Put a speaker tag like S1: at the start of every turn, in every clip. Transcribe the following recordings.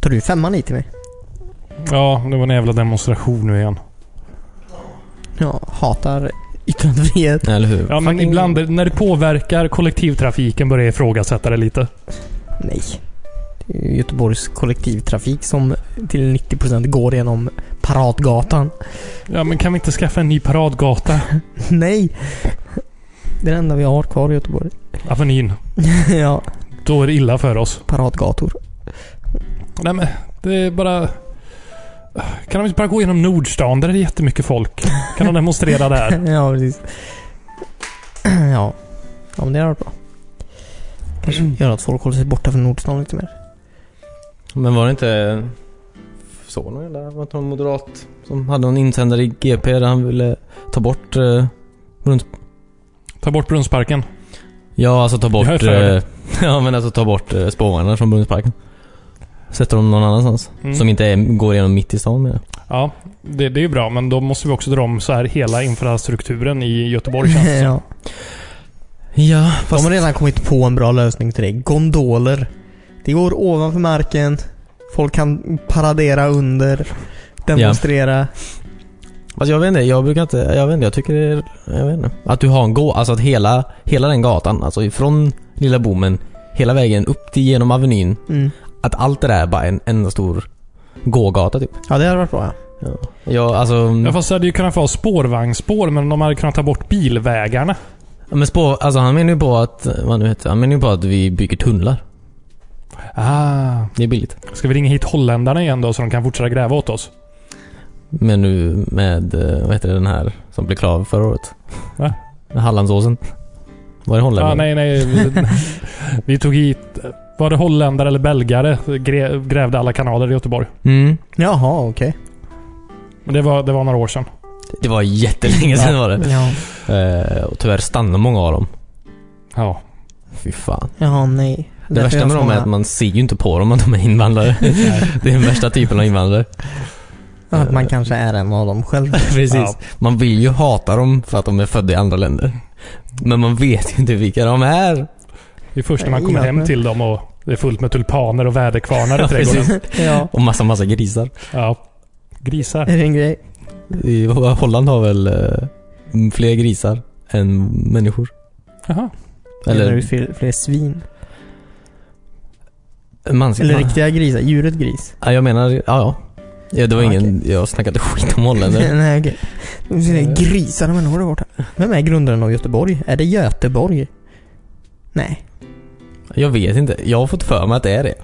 S1: Tar du femman i till mig?
S2: Ja, det var en jävla demonstration nu igen.
S1: Jag hatar yttrandefrihet.
S3: Eller hur?
S2: Ja, men
S1: Fucking-
S2: ibland när det påverkar kollektivtrafiken börjar jag ifrågasätta det lite.
S1: Nej. Det är ju Göteborgs kollektivtrafik som till 90% går genom Paradgatan.
S2: Ja, men kan vi inte skaffa en ny paradgata?
S1: Nej! Det är det enda vi har kvar i Göteborg.
S2: Avenyn.
S1: ja,
S2: Då är det illa för oss.
S1: paradgator.
S2: Nej, men det är bara... Kan de inte bara gå genom Nordstan? Där är det jättemycket folk. Kan de demonstrera där?
S1: ja, precis. ja. ja, men det har varit bra. Kanske
S3: Mm.
S1: gör att folk håller sig borta från Nordstan lite mer.
S3: Men var det inte... Så någon jävla... Var det någon moderat som hade någon insändare i GP där han ville ta bort... Eh, brunns...
S2: Ta bort Brunnsparken.
S3: Ja, alltså ta
S2: Jag är
S3: bort...
S2: för det.
S3: Eh, ja, men alltså ta bort eh, spårvagnarna från Brunnsparken. Sätter dem någon annanstans.
S2: Mm.
S3: Som inte är, går igenom mitt i stan med det.
S2: Ja, det, det är ju bra, men då måste vi också dra om så här hela infrastrukturen i Göteborg känns det som.
S1: ja.
S3: Ja,
S1: De
S3: fast...
S1: har redan kommit på en bra lösning till det. Gondoler. Det går ovanför marken. Folk kan paradera under. Demonstrera.
S3: Alltså jag vet inte, jag brukar inte, jag vet inte, jag tycker det är, jag vet inte. Att du har en gå, alltså att hela, hela den gatan, alltså ifrån lilla bommen, hela vägen upp till genom Avenyn.
S1: Mm.
S3: Att allt det där är bara en enda stor gågata typ.
S1: Ja, det hade varit bra ja.
S3: Ja, ja alltså...
S2: Ja, fast det hade ju kunnat vara spårvagnsspår, men de hade kunnat ta bort bilvägarna.
S3: Men spår, alltså han menar ju på att, vad nu heter det? han menar ju på att vi bygger tunnlar.
S2: Ah.
S3: Det är billigt.
S2: Ska vi ringa hit holländarna igen då, så de kan fortsätta gräva åt oss?
S3: Men nu med, eh, vad heter det, den här som blev klar förra året?
S2: Va?
S3: Hallandsåsen. Var det
S2: Ah,
S3: Holland?
S2: nej, nej. Vi, vi tog hit... Var det holländare eller belgare? Gre, grävde alla kanaler i Göteborg.
S3: Mm.
S1: Jaha, okej.
S2: Men det var, det var några år sedan.
S3: Det var jättelänge sedan var det.
S1: Ja.
S3: Eh, och tyvärr stannar många av dem.
S2: Ja.
S3: Fy fan.
S1: Jaha, nej.
S3: Det
S1: Därför
S3: värsta
S1: jag
S3: med dem är
S1: svarar
S3: att man ser ju inte på dem att de är invandrare. det är den värsta typen av invandrare.
S1: Att man kanske är en av dem själv.
S3: Precis.
S2: Ja.
S3: Man vill ju hata dem för att de är födda i andra länder. Men man vet ju inte vilka de är.
S2: Det är först när man
S1: Nej,
S2: kommer
S1: ja,
S2: hem
S1: men-
S2: till dem och det är fullt med tulpaner och väderkvarnar i
S3: Ja,
S2: trädgården.
S1: ja.
S3: Och massa, massa grisar.
S2: Ja. Grisar.
S1: Är det en grej?
S3: I Holland har väl eh, fler grisar än människor?
S2: Jaha.
S1: Eller du
S3: Eller
S1: fler, fler svin?
S3: manskap?
S1: Eller riktiga grisar? Djuret gris?
S3: Ja, jag menar, ja ja. ja det var
S1: Ja,
S3: ingen, jag snackade skit om holländare.
S1: nej, okej. Nu ser jag Grisar och människor där borta. Vem är grundaren av Göteborg? Är det Göteborg? Nej.
S3: jag vet inte. Jag har fått för mig att det är det.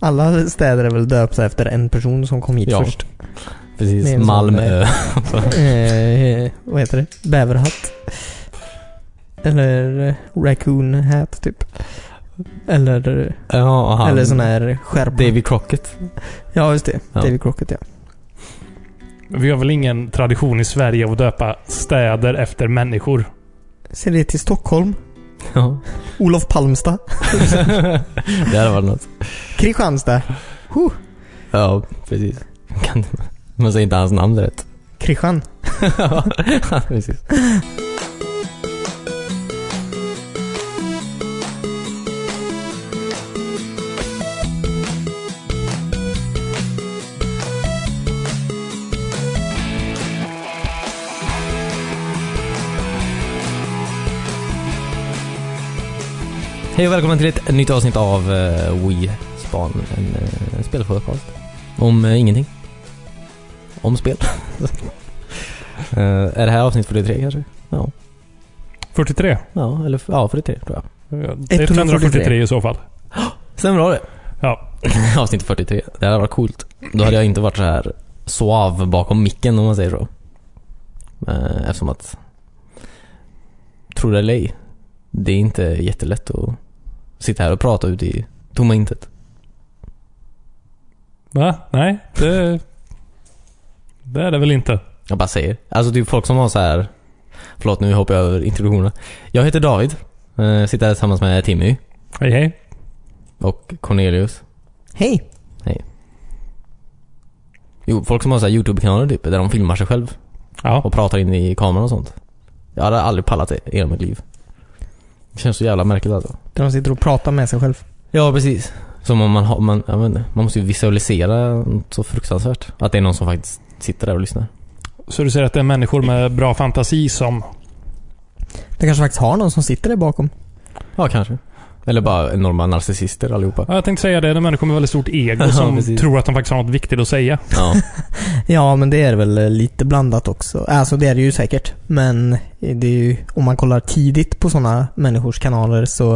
S1: Alla städer är väl döpta efter en person som kom hit
S3: Ja.
S1: först. Det är
S3: Precis.
S1: en sån
S3: Malmö.
S1: Eh, vad heter det? Bäverhatt. Eller eh, Raccoon Hat typ. Eller,
S3: ja, han,
S1: eller sån här skärpa.
S3: David Crockett.
S1: Ja, just det.
S3: Ja.
S1: David Crockett, ja.
S2: Vi har väl ingen tradition i Sverige av att döpa städer efter människor?
S1: Ser det till Stockholm.
S3: Ja.
S1: Olof Palmstad.
S3: det hade varit något.
S1: Kristianstad.
S3: Ja, precis. Kan, man säger inte hans namn rätt.
S1: Kristian.
S3: Ja, precis. Hej och välkommen till ett nytt avsnitt av uh, We Span, en uh, spelpodcast. Om eh, ingenting. Om spel. Eh, är det här avsnitt 43 kanske?
S2: 43.
S3: Ja, eller ja, 43 tror jag.
S2: Det är 143 i så fall.
S3: Stämmer bra det.
S2: Ja.
S3: avsnitt 43. Det hade varit coolt. Då hade jag inte varit så här suav bakom micken om man säger så. Eh, Eftersom att... Tror det eller ej. Det är inte jättelätt att sitta här och prata ut i tomma intet.
S2: Va? Nej, det... Det är det väl inte?
S3: Jag bara säger. Alltså typ folk som har så här. Förlåt nu hoppar jag över introduktionerna. Jag heter David. Eh, Sitter här tillsammans med Timmy
S2: Hej hej.
S3: och Cornelius.
S1: Hej!
S3: Jo, folk som har så här YouTube-kanaler typ, där de filmar sig själv.
S2: Ja.
S3: och pratar in i kameran och sånt. Jag hade aldrig pallat det i hela mitt liv. Det känns så jävla märkligt alltså.
S1: Där de sitter och pratar med sig själv.
S3: Ja, precis. Som om man har, man, jag vet inte, man måste ju visualisera något så fruktansvärt. Att det är någon som faktiskt sitter där och lyssnar.
S2: Så du säger att det är människor med bra fantasi som...
S1: Det kanske faktiskt har någon som sitter där bakom.
S3: Ja, kanske. Eller bara enorma narcissister allihopa.
S2: Ja, jag tänkte säga det. Det är människor med väldigt stort ego
S3: Ja,
S2: som
S3: precis.
S2: tror att de faktiskt har något viktigt att säga.
S3: Ja.
S1: Ja, men det är väl eh, lite blandat också. Alltså det är det ju säkert. Men eh, det är ju, om man kollar tidigt på sådana människors kanaler så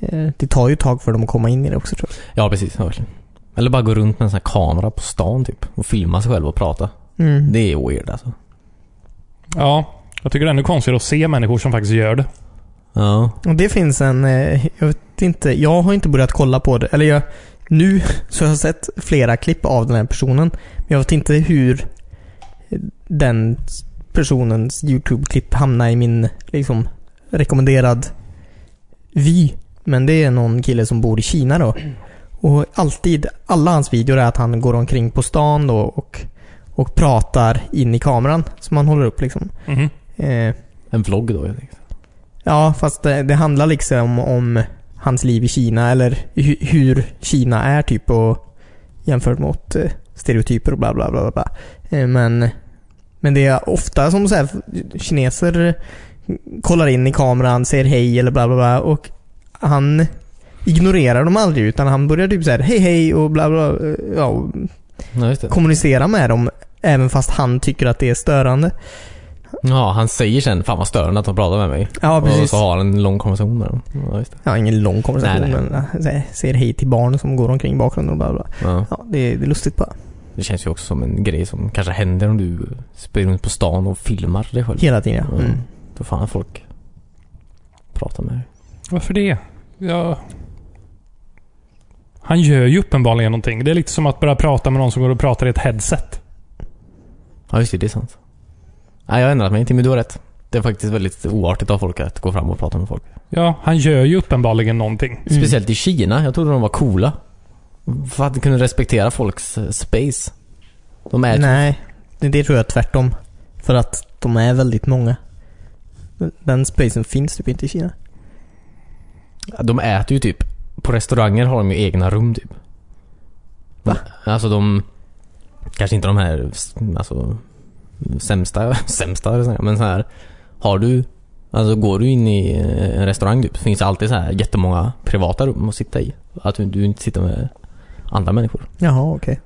S1: eh, det tar ju ett tag för dem att komma in i det också tror
S3: ja, precis. Ja, verkligen. Eller bara gå runt med en sån här kamera på stan typ. Och filma sig själv och prata.
S1: jag. Mm.
S3: Det är weird alltså.
S2: Ja, jag tycker det är ännu konstigare att se människor som faktiskt gör det.
S3: Ja.
S1: Och det finns en, eh, jag vet inte, jag har inte börjat kolla på det. Eller jag, nu så har jag sett flera klipp av den här personen. Men jag vet inte hur den personens YouTube-klipp hamnar i min liksom, rekommenderad vy. Men det är någon kille som bor i Kina då. Och alltid, alla hans videor är att han går omkring på stan då och, och pratar in i kameran som han håller upp liksom.
S2: Mhm.
S1: Eh,
S3: En vlogg då helt enkelt.
S1: Ja, fast det, det handlar liksom om, om hans liv i Kina eller hu, hur Kina är typ och jämfört mot eh, stereotyper och bla bla bla. bla, bla. Eh, men, men det är ofta som så här, kineser kollar in i kameran, säger hej eller bla bla bla och han ignorerar dem aldrig utan han börjar typ såhär hej hej och bla bla. eh, Ja, och
S3: Ja, just det.
S1: kommunicera med dem även fast han tycker att det är störande.
S3: Ja, han säger sen 'Fan vad störande att de pratar med mig'
S1: Ja,
S3: Och
S1: precis.
S3: så har han en lång konversation med dem. Ja, just det.
S1: Ja, ingen lång konversation
S3: Nej, nej.
S1: men eh, så här, säger hej till barn som går omkring i bakgrunden och bla bla.
S3: Ja.
S1: Ja, det är, det är lustigt bara.
S3: Det känns ju också som en grej som kanske händer om du springer runt på stan och filmar dig själv.
S1: Hela tiden ja. Mm.
S3: Mm. Då fan folk pratar med dig.
S2: Varför det? Ja... Han gör ju uppenbarligen någonting. Det är lite som att börja prata med någon som går och pratar i ett headset.
S3: Ja, just det. Det är sant. Nej, jag har ändrat mig. Timmy, du har rätt. Det är faktiskt väldigt oartigt av folk att gå fram och prata med folk.
S2: Ja, han gör ju uppenbarligen någonting.
S3: Speciellt i Kina. Jag trodde de var coola. För att de kunde respektera folks eh, space. De är...
S1: Nej, det, det tror jag är tvärtom. För att de är väldigt många. Den spacen finns typ inte i Kina.
S3: De äter ju typ... På restauranger har de ju egna rum typ.
S1: Va?
S3: Alltså de... Kanske inte de här alltså, sämsta, sämsta eller så här, men så här Har du... Alltså går du in i eh, en restaurang typ, finns det alltid så här jättemånga privata rum att sitta i. Att du, du inte sitter med andra människor.
S1: Jaha, okej.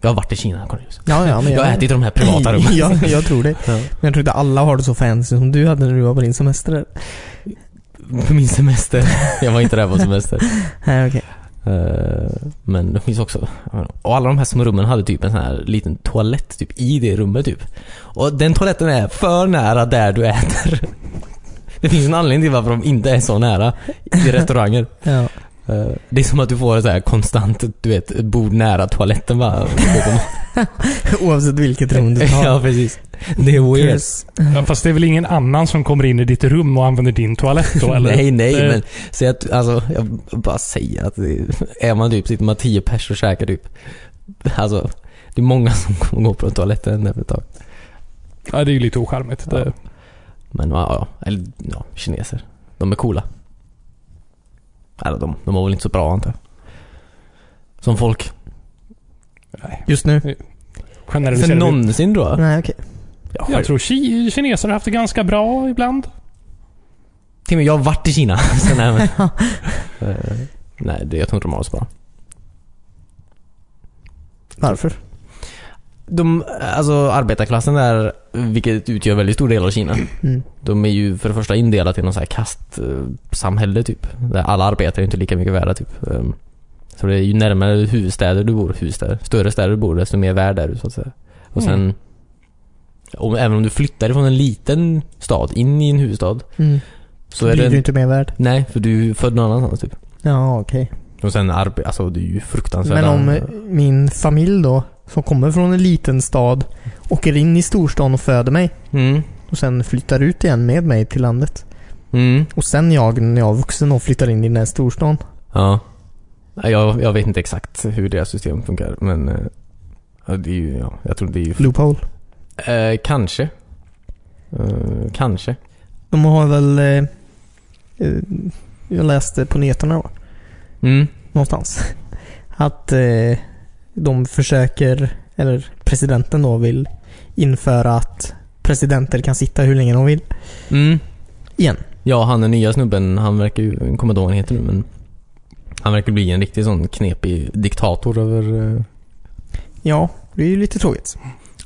S3: Jag har varit i Kina Cornelius.
S1: Ja, ja, men
S3: Jag har ätit i de här privata rummen.
S1: ja, jag tror det.
S3: Ja.
S1: Men jag tror inte alla har det så fancy som du hade när du var på din semester.
S3: På min semester. Jag var inte där på semester.
S1: Nej, okej.
S3: Eh, Men det finns också... jag vet inte. Och alla de här små rummen hade typ en sån här liten toalett typ i det rummet typ. Och den toaletten är för nära där du äter. Det finns en anledning till varför de inte är så nära i restauranger.
S1: Ja.
S3: Eh, Det är som att du får så här konstant, du vet, bord nära toaletten bara.
S1: Oavsett vilket rum du tar.
S3: Ja, precis. Det är weird.
S1: Yes.
S2: Ja, fast det är väl ingen annan som kommer in i ditt rum och använder din toalett då, eller?
S3: Nej, nej,
S2: Det-
S3: men säg att, alltså, jag bara säger att det, är man typ, sitter man tio pers och käkar typ, alltså, det är många som kommer gå på toaletten efter ett tag.
S2: Ja, det är ju lite ocharmigt. Det...
S3: Men ja, ja, eller ja, kineser. De är coola. Eller de, de var väl inte så bra antar jag. Som folk.
S2: Nej.
S1: Just nu?
S3: För
S2: Generaliserar vi.
S3: någonsin då?
S1: Nej, okej.
S3: Ja,
S2: Jag tror ki- kineser har haft det ganska bra ibland.
S3: Timmy, jag har varit i Kina. så, nej, men, Eh, nej det, jag tror inte de har det så bra.
S1: Varför?
S3: De, alltså arbetarklassen där, vilket utgör väldigt stor del av Kina.
S1: Mm.
S3: De är ju för det första indelade i någon sån här kastsamhälle typ. Där alla arbetare är inte lika mycket värda typ. Ehm, Så det är ju närmare huvudstäder du bor, huvudstäder, större städer du bor desto mer värd är du så att säga. Och sen,
S2: Mm.
S3: om, även om du flyttar från en liten stad in i en huvudstad.
S1: Mm.
S3: Så är
S1: blir
S3: det,
S1: du inte mer värd?
S3: nej för du är född någon annanstans typ.
S1: Ja, okej.
S3: Och sen arbete, alltså det är ju fruktansvärt.
S1: Men om eh, min familj då, som kommer från en liten stad, åker in i storstan och föder mig
S3: Mm.
S1: och sen flyttar ut igen med mig till landet.
S3: Mm.
S1: Och sen jag, när jag är vuxen och flyttar in i den här storstan.
S3: Ja. Nej, Jag, jag vet inte exakt hur deras system funkar men eh, ja, det är ju, ja, jag tror det är ju
S1: Loophole.
S3: Eh, kanske. Eh, kanske.
S1: De har väl... Eh, eh, jag läste på nyheterna då.
S3: Mm.
S1: någonstans. Att eh, de försöker, eller presidenten då vill införa att presidenter kan sitta hur länge de vill.
S3: Mm.
S1: Igen.
S3: Ja, han den nya snubben, han verkar ju, jag kommer inte ihåg vad han heter nu men Han verkar bli en riktig sån knepig diktator över... eh,
S1: Ja, det är ju lite tråkigt.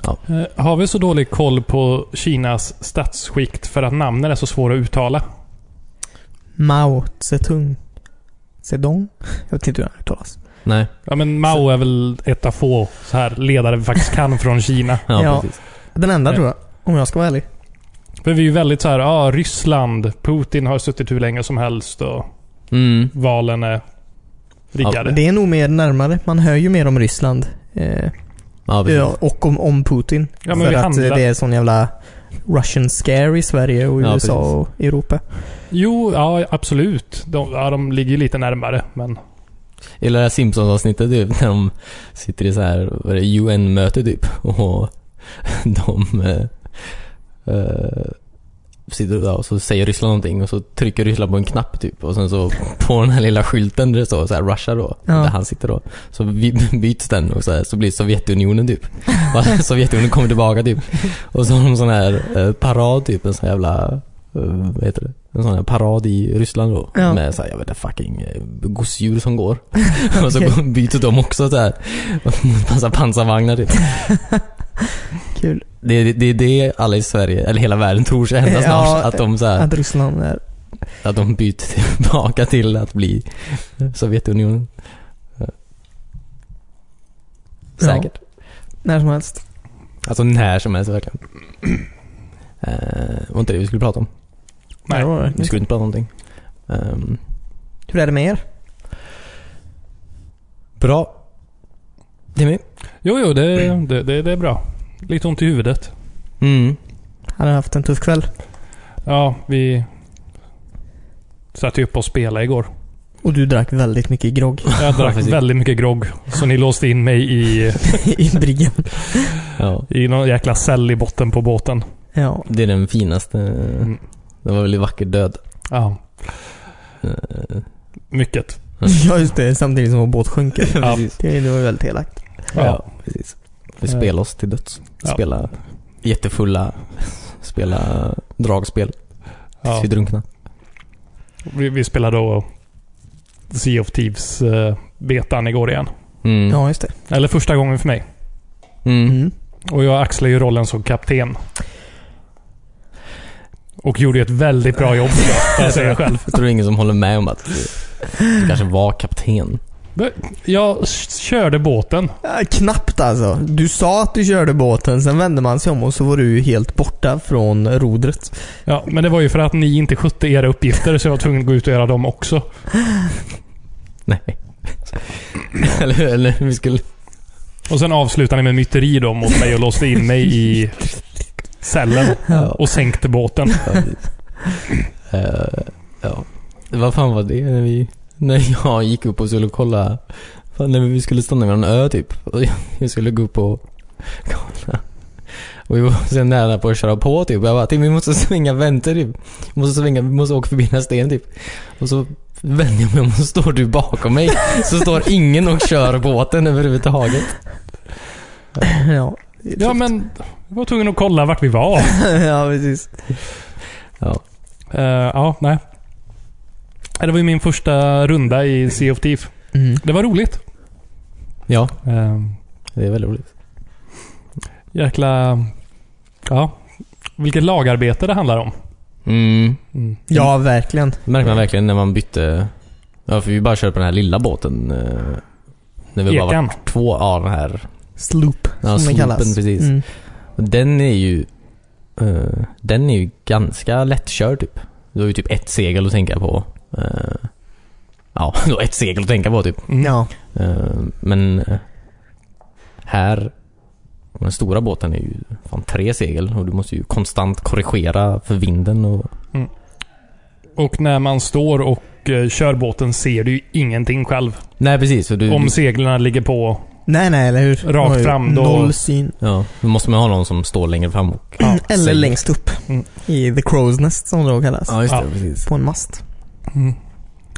S2: Eh, Har vi så dålig koll på Kinas statsskikt för att namnen är så svåra att uttala?
S1: Mao Zedong. Zedong? Jag vet inte hur han uttalas.
S3: Nej,
S2: Ja, men Mao är väl ett av få så här ledare vi faktiskt kan från Kina.
S3: ja,
S1: Ja.
S3: precis.
S1: Den enda
S2: Nej.
S1: tror jag, om jag ska vara ärlig.
S2: För vi är ju väldigt så här, ja, Ryssland, Putin har suttit hur länge som helst och
S3: Mm.
S2: valen är riggade.
S1: Det är nog mer närmare. Man hör ju mer om Ryssland. Eh,
S3: Ja, precis.
S1: ja, och om, om Putin.
S2: Ja, men
S1: för
S2: vi
S1: att
S2: handlar-
S1: eh, det är sån jävla Russian scare i Sverige och
S3: Ja,
S1: USA och Europa.
S2: Jo, ja absolut. De, ja, de ligger ju lite närmare, men...
S3: Eller det här Simpsons-avsnittet typ, när de sitter i så här, vad är det, UN-möte typ. Och de... Eh, eh, sitter där och så säger Ryssland någonting och så trycker Ryssland på en knapp typ. Och sen så på den här lilla skylten där det står så här Russia då,
S1: Ja.
S3: där han sitter då. Så vi- byts den och så, här, så blir det Sovjetunionen typ. Och Sovjetunionen kommer tillbaka typ. Och så har de sån här eh, parad typ, en sån jävla... Eh, vad heter det? En sån här parad i Ryssland då.
S1: Ja.
S3: Med så här, jag vet inte, fucking eh, gosedjur som går. Och
S1: Okej.
S3: så byter de också så här mot massa pansarvagnar typ.
S1: Kul.
S3: Det är det, det, är det alla i Sverige, eller hela världen tror sig
S1: Ja,
S3: hända snart. Att de, så här,
S1: Att Ryssland är...
S3: att de byter tillbaka till att bli Sovjetunionen. Säkert.
S1: När som helst.
S3: Alltså när som helst verkligen. Uh, var inte det vi skulle prata om?
S2: Nej.
S1: Ja, det var det.
S3: Vi skulle inte prata om någonting. Ehm,
S1: Hur är det med er?
S3: bra. Timmy?
S2: Jo, jo, det, det, det, det är bra. Lite ont i huvudet.
S3: Mm.
S1: Har ni haft en tuff kväll?
S2: Ja, vi satt ju upp och spelade igår.
S1: Och du drack väldigt mycket grogg
S2: Jag drack
S3: precis.
S2: väldigt mycket grogg. Så ni låste in mig i,
S1: i briggen.
S3: Ja.
S2: i någon jäkla cell i botten på båten.
S1: Ja.
S3: Det är den finaste.
S2: Mm.
S3: Det var väldigt vacker död.
S2: Ja,
S3: Eh,
S2: mycket.
S1: ja, just det. Samtidigt som vår båt sjunker.
S2: Ja.
S1: Det det var ju väldigt elakt.
S3: Ja,
S2: Ja.
S3: precis. Vi
S2: Eh.
S3: spelar oss till döds.
S2: Ja.
S3: Spela jättefulla, spela dragspel tills
S2: Ja.
S3: vi drunknar.
S2: Vi, vi spelade då Sea of Thieves eh, betan igår igen.
S3: Mm.
S1: Ja, just det.
S2: Eller första gången för mig.
S3: Mm.
S1: Mm.
S2: Och jag axlar ju rollen som kapten. Och gjorde ju ett väldigt bra jobb, får jag säga själv.
S3: Jag tror det är ingen som håller med om att du, du kanske var kapten.
S2: Jag s- körde båten.
S1: Äh, knappt alltså. Du sa att du körde båten, sen vände man sig om och så var du ju helt borta från rodret.
S2: Ja, men det var ju för att ni inte skötte era uppgifter, så jag var tvungen att gå ut och göra dem också.
S3: Nej. eller, hur? eller hur vi skulle...
S2: Och sen avslutade ni med myteri då mot mig och låste in mig i cellen.
S3: Ja.
S2: Och sänkte båten.
S3: Ja, precis. Eh, ja. Vad fan var det när vi... När jag gick upp och skulle kolla... Fan, när vi skulle stanna vid en ö typ. Och jag- jag skulle gå upp och kolla. Och vi var så nära på att köra på typ. Jag bara, "Tim, vi måste svänga vänster typ. Vi måste svänga, vi måste åka förbi den här stenen typ. Och så vänder jag mig om och så står du bakom mig. Så står ingen och kör båten överhuvudtaget.
S1: ja.
S2: Ja, men jag var tvungen att kolla vart vi var.
S1: ja, precis.
S2: Eh, ja, nej. Eh, Det var ju min första runda i Sea of Thieves.
S1: Mm.
S2: Det var roligt.
S3: Ja,
S2: Eh,
S3: det är väldigt roligt.
S2: jäkla... Ja. Vilket lagarbete det handlar om.
S3: Mm.
S2: Mm.
S1: Ja, verkligen.
S3: Det märkte man verkligen när man bytte... Ja, för vi bara körde på den här lilla båten. eh, När vi bara var
S2: Ekan.
S3: två. Ja, den här.
S1: Sloop,
S3: Ja,
S1: som
S3: sloopen,
S1: den kallas.
S3: precis.
S1: Mm.
S3: Och Den är ju... eh, den är ju ganska lättkörd typ. Du har ju typ ett segel att tänka på. eh, ja, du har ett segel att tänka på typ.
S2: Mm.
S1: Ja.
S3: Eh, men... eh, här... Den stora båten är ju fan tre segel och du måste ju konstant korrigera för vinden och...
S2: Och när man står och eh, kör båten ser du ju ingenting själv.
S3: Nej precis, så du...
S2: Om seglen ligger på.
S1: Nej, nej, eller hur?
S2: Rakt
S1: De har ju
S2: fram, då-
S1: Noll syn.
S3: Ja, då måste man ha någon som står längre fram och...
S2: Ja,
S1: Eller
S3: säg-
S1: längst upp.
S2: Mm.
S1: I the crow's nest, som det då kallas.
S3: Ja, just det.
S2: Ja.
S3: Precis.
S1: På en mast.
S2: Mm.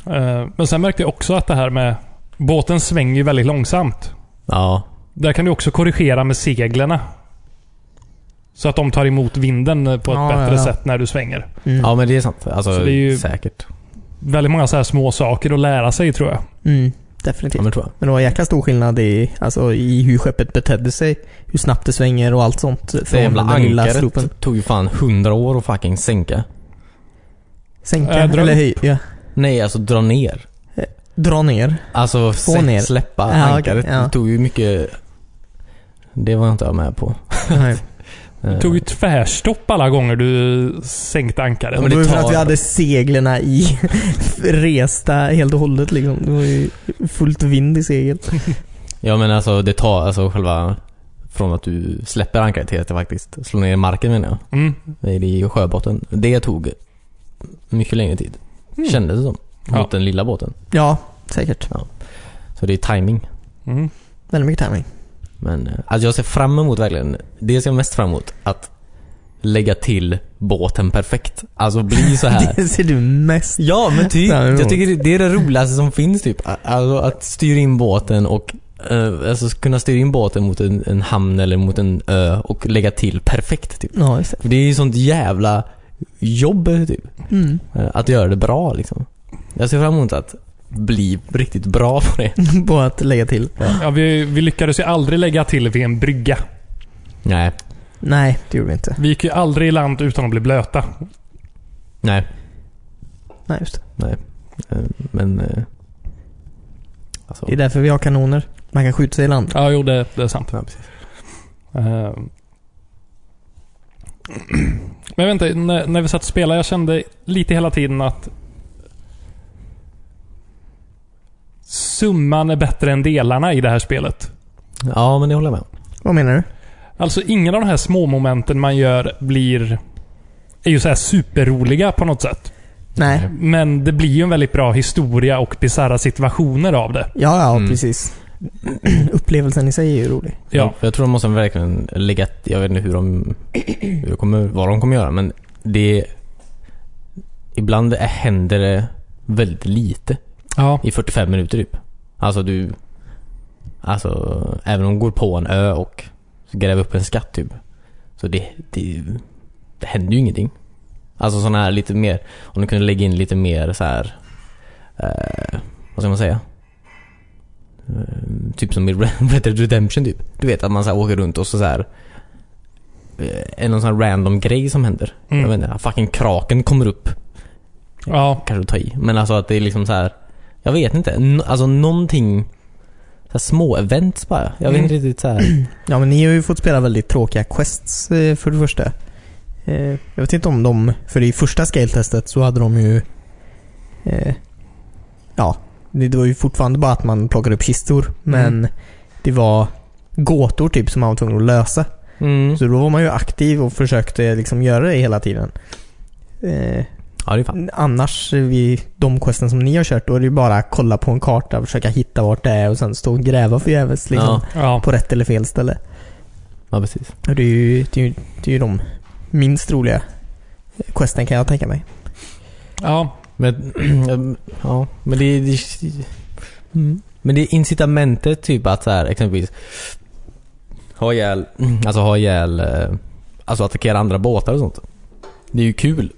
S2: Eh, Men sen märkte jag också att det här med... Båten svänger ju väldigt långsamt.
S3: Ja.
S2: Där kan du också korrigera med seglerna. Så att de tar emot vinden eh, på ett
S1: Ja,
S2: bättre
S1: ja, ja.
S2: sätt när du svänger.
S1: Mm.
S3: ja, men det är sant. Alltså,
S2: Så det är ju-
S3: säkert.
S2: Väldigt många så här små saker att lära sig tror jag.
S1: Mm,
S3: Ja,
S1: definitivt.
S3: men tror jag.
S1: Men det var en jäkla stor skillnad i, alltså, i hur skeppet betedde sig. Hur snabbt det svänger och allt sånt.
S3: Det jävla
S1: slopen.
S3: ankaret tog ju fan hundra år att fucking sänka.
S1: Sänka,
S2: Äh, dra
S1: eller
S2: upp.
S1: höj, ja.
S3: Nej, alltså dra ner.
S1: Dra ner.
S3: Alltså
S1: Få
S3: sä-
S1: ner.
S3: släppa
S1: Ja, okej,
S3: ankaret.
S1: ja.
S3: Det tog ju mycket... Det var jag inte jag med på.
S1: Nej.
S2: Det tog ju tvärstopp alla gånger du sänkte ankaret.
S3: Ja,
S1: men det
S3: men det
S1: var ju för
S3: tar-
S1: att vi hade seglerna i resta helt och hållet liksom. Det var ju fullt vind i segel.
S3: Ja men alltså det tar, alltså själva från att du släpper ankaret till att det faktiskt slår ner i marken menar jag.
S2: Mm.
S3: Det är i sjöbotten. Det tog mycket längre tid.
S2: Mm.
S3: Kändes det som. Mot
S2: Ja.
S3: den lilla båten.
S1: Ja, säkert.
S3: Så det är timing.
S2: Mm.
S1: Väldigt mycket timing.
S3: Men eh, alltså jag ser fram emot verkligen, det ser jag mest fram emot. Att lägga till båten perfekt. Alltså bli så här.
S1: Det ser du mest.
S3: Ja men typ.
S1: Fram emot.
S3: Jag tycker det- det är det roligaste som finns typ. A- Alltså att styra in båten och eh, Alltså kunna styra in båten mot en, en hamn eller mot en ö och lägga till perfekt typ.
S1: Ja, just
S3: För det är ju sånt jävla jobb typ.
S1: det. Mm.
S3: Eh, Att göra det bra liksom. Jag ser fram emot att bli riktigt bra på det.
S1: På att lägga till.
S2: Ja, vi, vi lyckades ju aldrig lägga till vid en brygga.
S3: Nej.
S1: Nej, det gjorde vi inte.
S2: Vi gick ju aldrig i land utan att bli blöta.
S3: Nej.
S1: Nej, just det.
S3: Eh, Men... eh, Alltså.
S1: Det är därför vi har kanoner. Man kan skjuta sig i land.
S2: Ja, jo det, det är sant.
S3: Ja, precis.
S2: Eh, Men jag vet inte, när, när vi satt och spelade, jag kände lite hela tiden att summan är bättre än delarna i det här spelet.
S3: Ja, men det håller jag med om.
S1: Vad menar du?
S2: Alltså ingen av de här småmomenten man gör blir är ju så här superroliga på något sätt.
S1: Nej.
S2: Men det blir ju en väldigt bra historia och bisarra situationer av det.
S1: Ja, ja
S3: Mm.
S1: precis. Upplevelsen i sig är ju rolig.
S2: Ja.
S3: För Jag tror de måste verkligen lägga... Jag vet inte hur de... Hur de kommer, vad de kommer göra, men det... Ibland händer det väldigt lite.
S2: Ja.
S3: i 45 minuter typ. Alltså du... Alltså, även om du går på en ö och gräver upp en skatt typ. Så det, det, det händer ju ingenting. Alltså sådana här lite mer, om du kunde lägga in lite mer så här. Eh, vad ska man säga? Eh, typ som i Red Dead Redemption typ. Du vet att man så här åker runt och så, så här. eh, Är någon sån här random grej som händer.
S2: Mm.
S3: Jag vet inte, fucking kraken kommer upp
S2: Ja.
S3: kanske att ta i. Men alltså att det är liksom så här. Jag vet inte. N- alltså någonting. Så här små events bara. Jag vet
S2: Mm.
S3: inte riktigt så här.
S1: Ja, men ni har ju fått spela väldigt tråkiga quests eh, för det första. Eh, Jag vet inte om de, för i första scale-testet så hade de ju... eh, Ja, det det var ju fortfarande bara att man plockade upp
S3: Mm.
S1: kistor. Men det var gåtor typ som man var tvungen att lösa.
S3: Mm.
S1: Så då var man ju aktiv och försökte liksom göra det hela tiden. Eh,
S3: Ja det är fan.
S1: Annars, vid de questen som ni har kört, då är det ju bara att kolla på en karta och försöka hitta vart det är och sen stå och gräva förgäves liksom.
S3: Ja.
S2: ja.
S1: På rätt eller fel ställe.
S3: Ja precis.
S1: Och det är ju, det är ju, det är ju de minst roliga questen kan jag tänka mig.
S2: ja.
S3: Men, ja, men det, det mm. Men det är incitamentet typ att så här exempelvis ha ihjäl, alltså ha ihjäl, eh, alltså attackera andra båtar och sånt. Det är ju kul.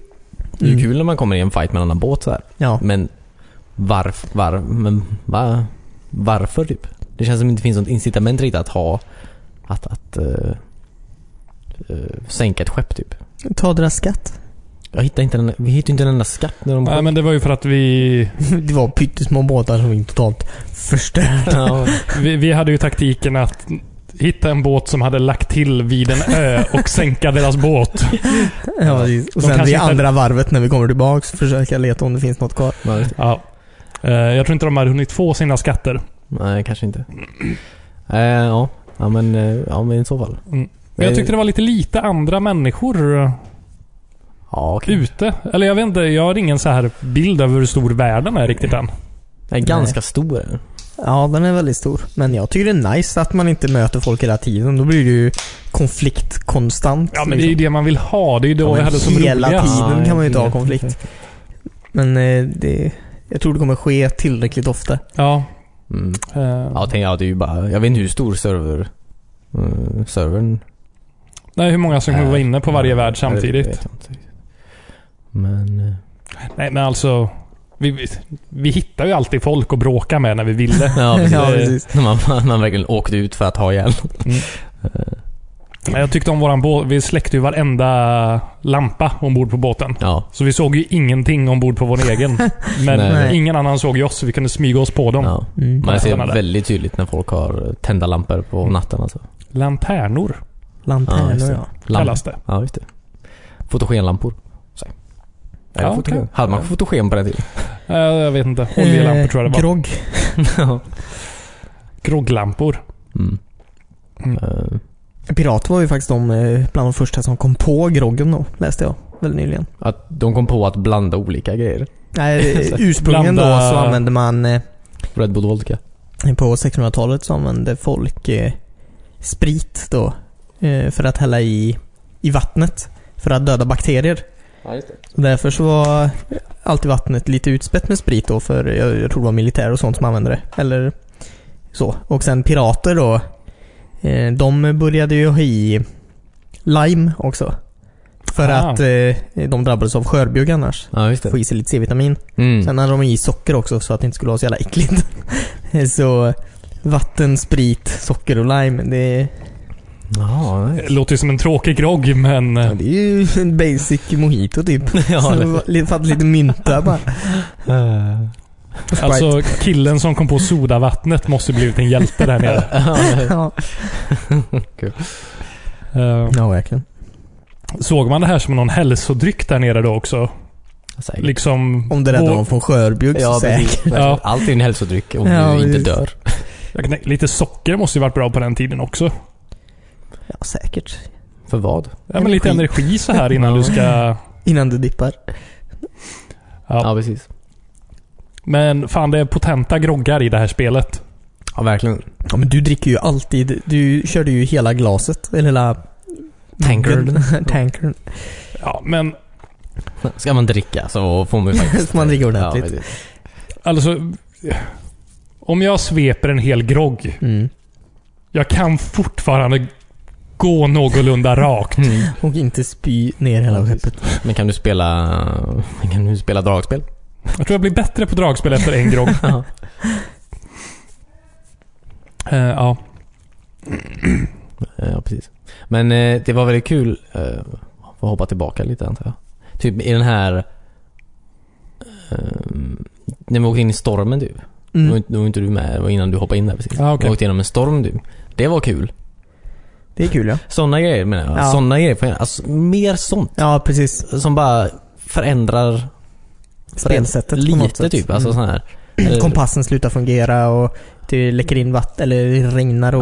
S3: Det är ju
S1: Mm.
S3: kul när man kommer i en fight med en annan båt så här.
S1: Ja,
S3: Men varf, var, men, va, varför typ? Det känns som det inte finns något incitament riktigt att ha att, att eh, eh, sänka ett skepp typ.
S1: ta deras skatt.
S3: Jag hittar inte den, vi hittar ju inte en enda skatt när de
S2: Nej, men det var ju för att vi,
S1: Det var pyttesmå båtar som vi totalt förstörde.
S3: ja,
S2: vi, vi hade ju taktiken att hitta en båt som hade lagt till vid en ö och sänka deras båt.
S1: Ja, precis. och
S2: De
S1: sen
S2: kanske
S1: det
S2: inte-
S1: andra varvet när vi kommer tillbaks försöka leta om det finns något kvar.
S3: men-
S2: Ja. Eh, Jag tror inte de hade hunnit få sina skatter.
S3: Nej, kanske inte. Eh, ja. Ja, men, eh, ja, men i så fall.
S2: Men Mm. jag tyckte det var lite lite andra människor eh,
S3: Ja, okej.
S2: ute. Eller jag vet inte, jag har ingen så här bild över hur stor världen är riktigt än.
S3: Den är ganska stor. är den.
S1: Ja, den är väldigt stor. Men jag tycker det är nice att man inte möter folk hela tiden. Då blir det ju konflikt konstant.
S2: Ja, men det är ju
S1: liksom.
S2: det man vill ha. Det är ju då
S3: Ja, men
S2: jag hade som
S1: hela
S2: roligast.
S1: tiden kan man ju inte ha
S3: Ja,
S1: konflikt. Men eh, det, Jag tror det kommer ske tillräckligt ofta.
S2: Ja.
S3: Mm.
S2: eh,
S3: Ja, tänk, ja, det är ju bara, jag vet inte hur stor server, mm, servern
S2: Nej, hur många som kommer vara inne på varje
S3: Ja,
S2: värld
S3: det
S2: samtidigt.
S3: vet jag inte riktigt. Men... eh,
S2: Nej, men alltså. Vi, vi, vi hittar ju alltid folk att bråka med när vi ville.
S3: Ja, precis.
S1: Ja, precis.
S3: När man, man, man verkligen åkte ut för att ha ihjäl.
S2: Nej, Jag tyckte om våran båt. Vi släckte ju varenda lampa ombord på båten.
S3: Ja.
S2: Så vi såg ju ingenting ombord på vår egen. Men
S1: Nej.
S2: ingen annan såg ju oss, så vi kunde smyga oss på dem.
S3: ja.
S1: Mm.
S3: Man ser
S2: Spännande.
S3: väldigt tydligt när folk har tända lampor på
S2: Mm.
S3: natten alltså.
S2: Lanternor
S3: Ja, just
S1: Lanternor
S3: det.
S1: ja.
S3: Lamp-
S2: kallas det.
S3: Ja, just det. Fotogenlampor. Så. Eller
S2: Ja,
S3: fotogen.
S2: okej.
S3: Hade man fotogen på den tiden?
S2: Eh, Jag vet inte. Oljelampor tror jag det var.
S1: Eh, Grogg.
S3: ja.
S2: Grogglampor.
S3: Mm.
S2: Mm.
S3: Eh,
S1: Pirat var ju faktiskt de eh, bland de första som kom på groggen då, läste jag väldigt nyligen.
S3: att de kom på att blanda olika grejer.
S1: Nej, eh, ursprungligen
S2: Blanda-
S1: då så använde man eh,
S3: Red Bull Vodka.
S1: På 1600-talet så använde folk eh, sprit då eh, för att hälla i, i vattnet för att döda bakterier.
S3: Ja, just det.
S1: Så därför så var alltid vattnet lite utspätt med sprit då för jag, jag tror det var militär och sånt som använde det. Eller så. Och sen pirater då. eh, De började ju ha i lime också. För
S2: Ah.
S1: att eh, de drabbades av skörbjugg annars.
S3: Ja, just
S1: Få
S3: det.
S1: i sig lite C-vitamin.
S3: Mm.
S1: Sen hade de i socker också så att det inte skulle vara så jävla äckligt. så vatten, sprit, socker och lime. Det,
S3: Ja, nej.
S2: Det Låter ju som en tråkig grogg, men... eh,
S1: det är ju en basic mojito typ.
S3: ja, det.
S1: Ja, Fattar lite mynta bara.
S3: Eh,
S2: Alltså, killen som kom på sodavattnet måste blivit en hjälte där nere.
S1: ja.
S2: Eh,
S1: ja, verkligen.
S2: Såg man det här som någon hälsodryck där nere då också?
S3: Säkert.
S2: Liksom...
S1: Om det räddar
S2: vår-
S1: dem från skörbjugg så
S3: Ja,
S1: säkert.
S3: precis.
S2: Ja.
S3: Allt är en hälsodryck om
S1: Ja,
S3: du inte
S1: precis.
S3: dör.
S2: Jag kan tänka- Lite socker måste ju varit bra på den tiden också.
S1: Ja, säkert.
S3: För vad?
S2: Ja, men lite
S1: Energi.
S2: energi så här innan du ska...
S1: Innan du dippar.
S3: Ja,
S2: Ja.
S3: precis.
S2: Men fan, det är potenta groggar i det här spelet.
S3: Ja, verkligen.
S1: Ja, men du dricker ju alltid. Du körde ju hela glaset. Eller hela...
S3: Tankern.
S1: Tankern.
S2: Ja, men
S3: Ska man dricka så får man ju faktiskt...
S1: Ska man dricka ordentligt?
S3: Ja, precis.
S2: alltså... Om jag sveper en hel grogg.
S1: Mm.
S2: Jag kan fortfarande gå någorlunda rakt.
S3: Mm.
S1: Och inte spy ner hela
S3: Ja,
S1: skeppet.
S3: Men kan du spela... Men kan du spela dragspel?
S2: Jag tror jag blir bättre på dragspel efter en grogg.
S3: Ja.
S2: Eh, ja.
S3: Eh, ja, precis. Men eh, det var väldigt kul... Eh, får hoppa tillbaka lite antar jag. Typ i den här... Eh, när vi åkte in i stormen du. Mm. Då var
S1: Mm.
S3: inte- då var inte du med. Det var innan du hoppade in där precis.
S2: Ja, okej.
S3: Vi åkte igenom en storm du. Det var kul.
S1: Det är kul ja.
S3: Sådana grejer menar jag.
S1: Ja.
S3: Sådana grejer. får jag- Alltså, mer sånt.
S1: Ja, precis.
S3: Som bara förändrar
S1: Spelsättet på något
S3: lite
S1: sätt.
S3: typ. Alltså
S1: Mm.
S3: sån här.
S1: Mm,
S3: Eller-
S1: kompassen slutar fungera och det läcker in vatten, eller det regnar och...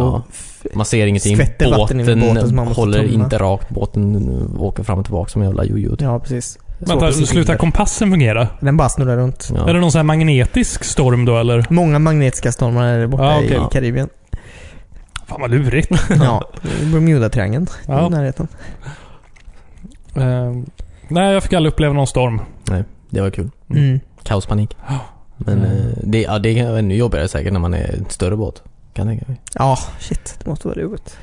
S3: Ja. Man ser ingenting.
S1: Skvätter vatten in i
S3: båten,
S1: båten som man måste
S3: håller
S1: tömma.
S3: inte rakt. Båten åker fram och tillbaka som en jävla jojo. typ.
S1: Ja, precis.
S2: Vänta, alltså,
S1: precis.
S2: slutar kompassen fungera?
S1: Den bara snurrar runt.
S3: Ja.
S2: Är det någon sån här magnetisk storm då eller?
S1: Många magnetiska stormar är borta
S2: Ja, okej.
S1: i Karibien.
S2: Fan vad lurigt.
S1: Ja, Bermuda-triangeln i
S2: Ja.
S1: närheten.
S3: Mm.
S2: Eh, nej, jag fick aldrig uppleva någon storm.
S3: Det var kul.
S1: Mm.
S3: Kaospanik. Men
S2: Mm.
S3: eh, det, ja, det är ännu jobbigare säkert när man är en större båt. Kan jag tänka mig.
S1: Ja, shit. Det måste vara roligt.